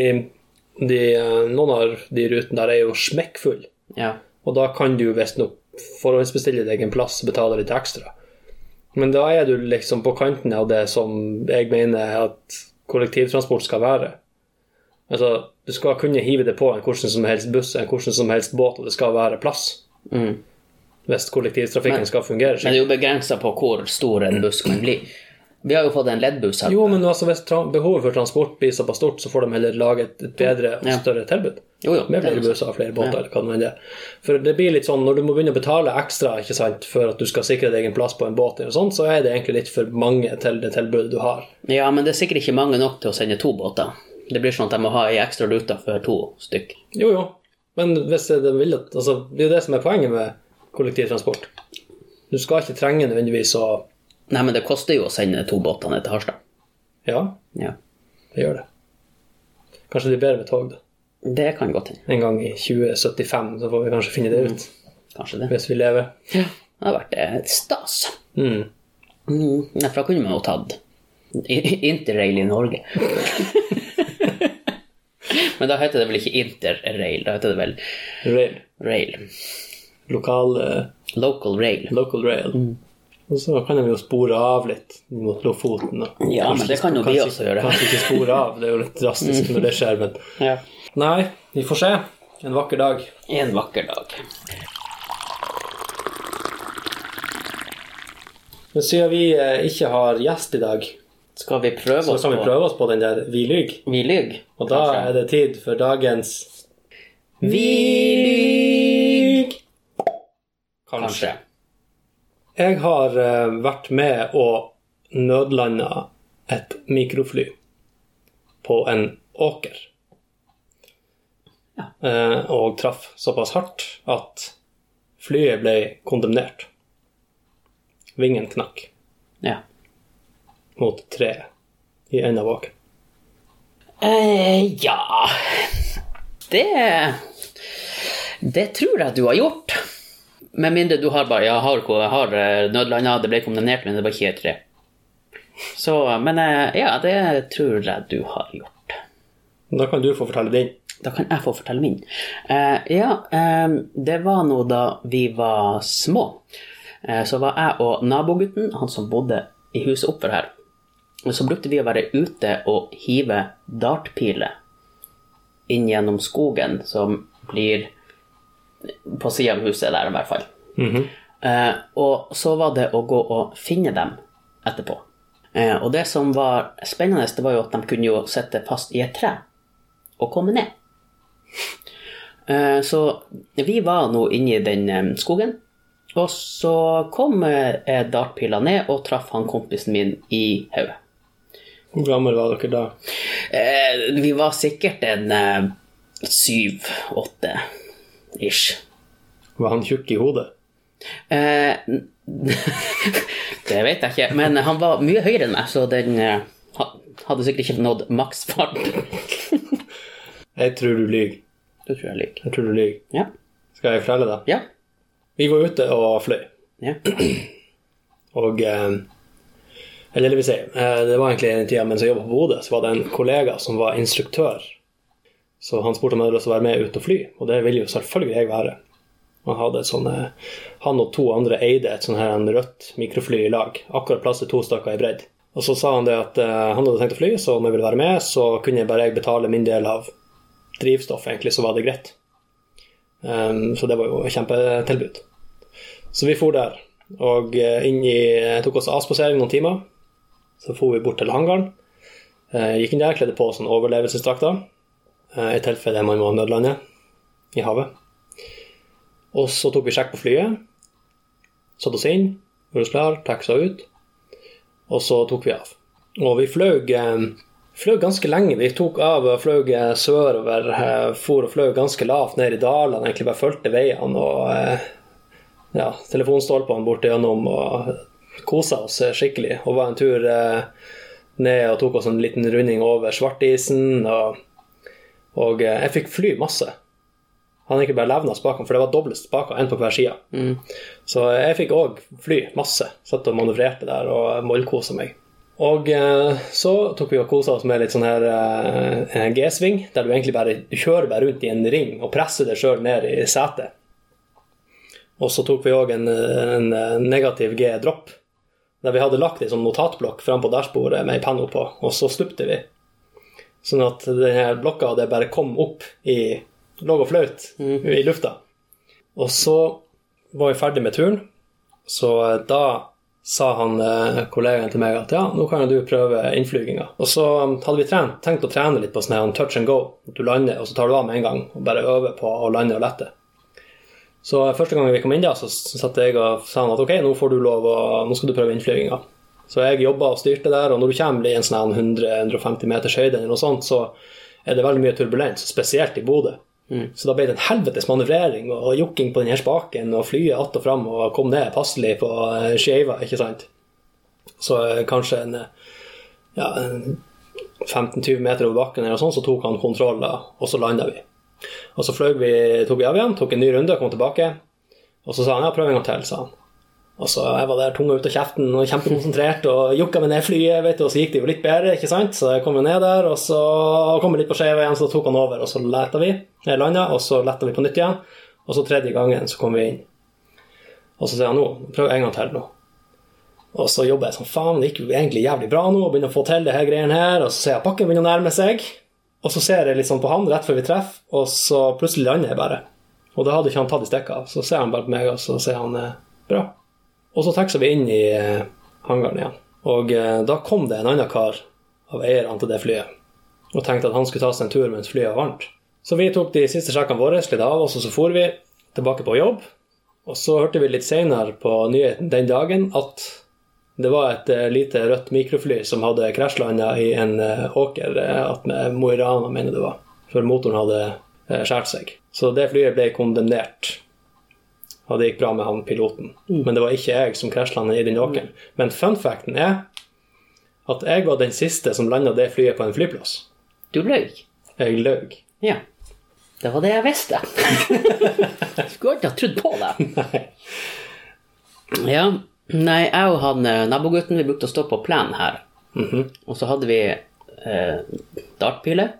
de, eh, noen av de rutene der er jo smekkfulle.
Ja.
Og da kan du visstnok forhåndsbestille deg en plass og betale litt ekstra. Men da er du liksom på kanten av det som jeg mener at kollektivtransport skal være. Altså, du skal kunne hive det på en hvordan som helst buss, en hvordan som helst båt, og det skal være plass.
Mm.
Hvis kollektivtrafikken skal fungere.
Men det
skikkelig.
er jo begrensa på hvor stor en buss kan bli. Vi har jo fått en leddbuss her.
jo, men altså, hvis tra- behovet for transport blir såpass stort, så får de heller lage et, et bedre og
Ja.
større tilbud.
Jo, jo,
Med
det er
flere
sant.
busser og flere båter. eller hva det nå enn er. For det blir litt sånn, Når du må begynne å betale ekstra ikke sant, for at du skal sikre deg en plass på en båt, eller sånt, så er det egentlig litt for mange til det tilbudet du har.
Ja, men det er sikkert ikke mange nok til å sende to båter. Det blir sånn at de må ha ei ekstra rute for to stykk.
Jo, jo. Men hvis det, vil at, altså, det er jo det som er poenget med kollektivtransport. Du skal ikke trenge nødvendigvis å
Nei, men det koster jo å sende to båter ned til Harstad.
Ja,
Ja.
det gjør det. Kanskje det blir bedre med tog, da.
Det kan godt hende.
En gang i 2075, så får vi kanskje finne det ut.
Kanskje det.
Hvis vi lever.
Ja. Det har vært eh, stas.
Mm.
Mm. Nei, for da kunne man jo tatt i- interrail i Norge. men da heter det vel ikke interrail, da heter det vel
Rail.
rail.
Lokal eh,
Local rail.
Local rail. Og så kan de jo spore av litt mot Lofoten. da.
Ja, men det kan jo
kanskje-
vi også gjøre.
Kanskje ikke spore av, det er jo litt drastisk når det skjer, men
Ja.
Nei, vi får se. En vakker dag.
En vakker dag.
Men siden vi eh, ikke har gjest i dag,
Skal vi prøve
så
oss
kan vi
på-
prøve oss på den der Vi lyver.
Vi lyver.
Og da
kanskje.
er det tid for dagens
Vi lyver. Kanskje.
Jeg har eh, vært med og nødlanda et mikrofly på en åker. Eh, og traff såpass hardt at flyet ble kondemnert. Vingen knakk
Ja.
mot treet i enden av åkeren.
Eh, ja Det Det tror jeg du har gjort. Med mindre du har bare Ja, har, jeg har eh, nødlanda, det ble kondemnert, men det var ikke et tre. Så Men eh, ja, det tror jeg du har gjort.
Da kan du få fortelle din.
Da kan jeg få fortelle min. Eh, ja, eh, det var nå da vi var små. Eh, så var jeg og nabogutten, han som bodde i huset oppfor her, og så brukte vi å være ute og hive dartpiler inn gjennom skogen, som blir på sida av huset der, i hvert fall. Eh, og så var det å gå og finne dem etterpå. Eh, og det som var spennende, det var jo at de kunne jo sitte fast i et tre og komme ned. Eh, Så vi var nå inne i den eh, skogen, og så kom eh, dartpila ned og traff han kompisen min i hodet.
Hvor gammel var dere da?
Eh, Vi var sikkert en eh, syv-åtte ish.
Var han tjukk i hodet?
Eh, n- det vet jeg ikke, men han var mye høyere enn meg, så den eh, ha- hadde sikkert ikke nådd maksfart.
Jeg tror du lyver.
Det tror jeg lyver.
Jeg tror du lyver.
Ja.
Skal jeg fortelle deg?
Ja.
Vi var ute og fløy.
ja.
Og eh, Eller det vil si, eh, det var egentlig en tid mens jeg jobba på Bodø, så var det en kollega som var instruktør. Så han spurte om jeg hadde lyst til å være med ut og fly, og det ville jo selvfølgelig jeg være. Han, hadde et sånn, eh, han og to andre eide et sånn her en rødt mikrofly i lag, akkurat plass til to stykker i bredd. Og så sa han det at eh, han hadde tenkt å fly, så om jeg ville være med, så kunne jeg bare jeg betale min del av drivstoff, egentlig, så var det greit. Ehm, så det var jo et kjempetilbud. Så vi for der, og eh, inn i, tok oss avspasering noen timer. Så for vi bort til hangaren. Eh, gikk inn der, kledde på sånn overlevelsesdrakter. eh, I tilfelle man må nødlande i havet. Og så tok vi sjekk på flyet. Satte oss inn, gjorde oss klar, taxa ut. Og så tok vi av. Og vi fløy, eh, fløy ganske lenge. Vi tok av og fløy eh, sørover. eh, For og fløy ganske lavt ned i dalene. Egentlig bare fulgte veiene og eh, ja, telefonstolpene bort igjennom. Og kosa oss eh, skikkelig. Og var en tur eh, ned og tok oss en liten runding over Svartisen. Og, og eh, jeg fikk fly masse. Han ikke bare levna spakene, for det var doble spaker, én på hver side. Så jeg fikk òg fly masse. Satt og manøvrerte der og mollkosa meg. Og eh, så tok vi og kosa oss med litt sånn her eh, G-sving, der du egentlig bare du kjører bare rundt i en ring og presser deg sjøl ned i setet. Og så tok vi òg en, en negativ G-dropp, der vi hadde lagt ei sånn notatblokk fram på dashbordet med ei penn oppå, og så stupte vi. Sånn at denne blokka det bare kom opp i Lå og fløt i lufta. Og så var vi ferdig med turen, så eh, da sa han eh, kollegaen til meg at ja, nå kan jo du prøve innflyginga. Og så um, hadde vi trent, tenkt å trene litt på sånn her touch and go. Du lander, og så tar du av med en gang, og bare øver på å lande og lette. Så første gang vi kom inn da, så satt jeg og sa han at ok, nå får du lov å, nå skal du prøve innflyginga. Så jeg jobba og styrte der, og når du kommer i en sånn her 100-150 meters høyde eller noe sånt, så er det veldig mye turbulens, spesielt i Bodø. Så da ble det en helvetes manøvrering og jokking på den her spaken og flyet att og fram og kom ned passelig på eh, skeiva, ikke sant. Så eh, kanskje en, eh, ja, en 15-20 meter over bakken eller noe sånt, så tok han kontroll, da, og så landa vi. Og så fløy vi, tok vi av igjen, tok en ny runde og kom tilbake. Og så sa han ja, prøv en gang til, sa han. Og så jeg var der tunga ut av kjeften og kjempekonsentrert og jokka meg ned flyet, vet du, og så gikk det jo litt bedre, ikke sant? Så jeg kom jo ned der, og så kom jeg litt på skeiva igjen, så tok han over, og så letta vi, jeg landa, og så letta vi på nytt igjen, og så tredje gangen så kom vi inn. Og så sier han nå, prøv en gang til nå. Og så jobber jeg sånn, faen, det gikk jo egentlig jævlig bra nå, og begynner å få til det her greiene her, og så ser jeg pakken begynner å nærme seg, og så ser jeg litt sånn på han rett før vi treffer, og så plutselig lander jeg bare. Og da hadde ikke han tatt i stikket av, så ser han bare på meg, og så sier han eh, bra. Og så taxa vi inn i eh, hangaren igjen. Og eh, da kom det en annen kar av eierne til det flyet og tenkte at han skulle ta seg en tur mens flyet var varmt. Så vi tok de siste sjekkene våre, slidde av oss, og så for vi tilbake på jobb. Og så hørte vi litt senere på nyheten den dagen at det var et eh, lite rødt mikrofly som hadde krasjlanda i en eh, åker eh, attmed Mo i Rana, mener jeg det var, før motoren hadde eh, skåret seg. Så det flyet ble kondemnert og det gikk bra med han piloten.
Mm.
Men det var ikke jeg som krasjlandet i den åkeren. Men fun facten er at jeg var den siste som landa det flyet på en flyplass.
Du løy.
Jeg løy.
Ja. Det var det jeg visste. Skulle ikke ha trodd på det. Ja. Nei, jeg og han eh, nabogutten, vi brukte å stå på plenen her. Og så hadde vi eh, dartpile.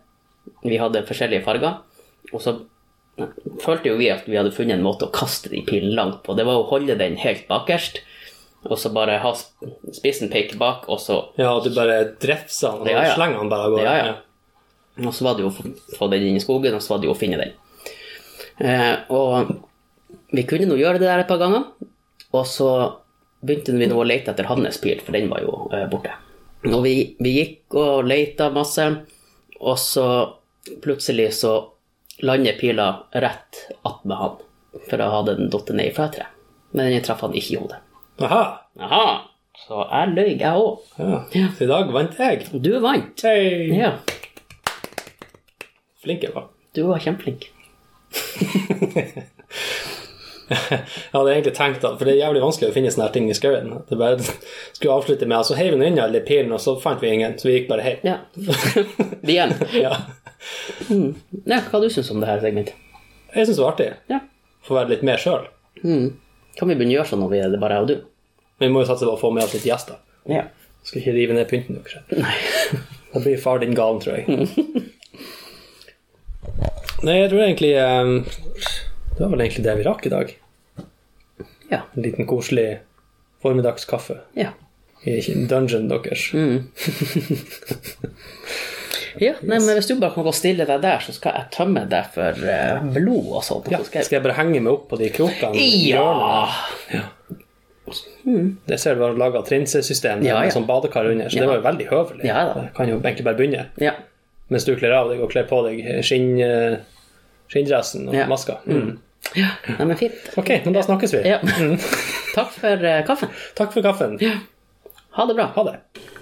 Vi hadde forskjellige farger. Og så eh, følte jo vi at vi hadde funnet en måte å kaste de pilene langt på. Det var å holde den helt bakerst, og så bare ha sp- spissen peke bak, og så
Ja, at du bare drefser han og
Ja, ja.
slenger han bare av gårde.
Ja, ja. Og så var det jo å få den inn i skogen, og så var det jo å finne den. Eh, og vi kunne nå gjøre det der et par ganger, og så begynte vi nå å lete etter hans pil, for den var jo eh, borte. Og vi, vi gikk og leta masse, og så plutselig så lander pila rett attmed han, for da hadde den datt ned fra et tre. Men den traff han ikke i hodet.
Aha.
Aha, så jeg løy, jeg òg.
Ja. Så i dag vant jeg.
Du vant.
Hey.
Ja,
Flink jeg var.
du var kjempeflink.
Jeg hadde egentlig tenkt at, for det er jævlig vanskelig å finne sånne her ting i skauen. At jeg bare skulle avslutte med, så heiv vi inn alle pilene, og så fant vi ingen. Så vi gikk bare hjem.
Ja. The end.
Ja.
Nei, hva du syns om det her segmentet?
Jeg syns det var artig.
Ja.
Få være litt med sjøl.
Kan vi begynne å gjøre sånn når vi er det bare jeg og du?
Vi må jo satse på å få med oss litt gjester.
Ja.
Skal ikke rive ned pynten deres.
Nei.
Da blir far din gal, tror jeg.
Mm.
Nei, jeg tror egentlig eh, Det var vel egentlig det vi rakk i dag.
Ja.
En liten koselig formiddagskaffe
ja.
i dungeon deres.
Ja, nei, men Hvis du bare kan gå stille deg der, så skal jeg tømme deg for eh, blod og sånt.
Ja,
Så skal jeg-
skal jeg bare henge meg opp på de krokene? i hjørnet?
ja.
Det ser du var laga trinsesystem
Ja,
med
ja.
sånn badekar under, så det var jo veldig høvelig.
Ja, da.
Jeg kan jo egentlig bare begynne.
ja.
Mens du kler av deg og kler på deg skinn, eh, skinndressen og
Ja.
maska. Mm.
ja. Nei, men fint.
Ok, men da snakkes vi.
Mm. Ja. Takk for eh, kaffen.
Takk for kaffen.
Ha det bra.
Ha det.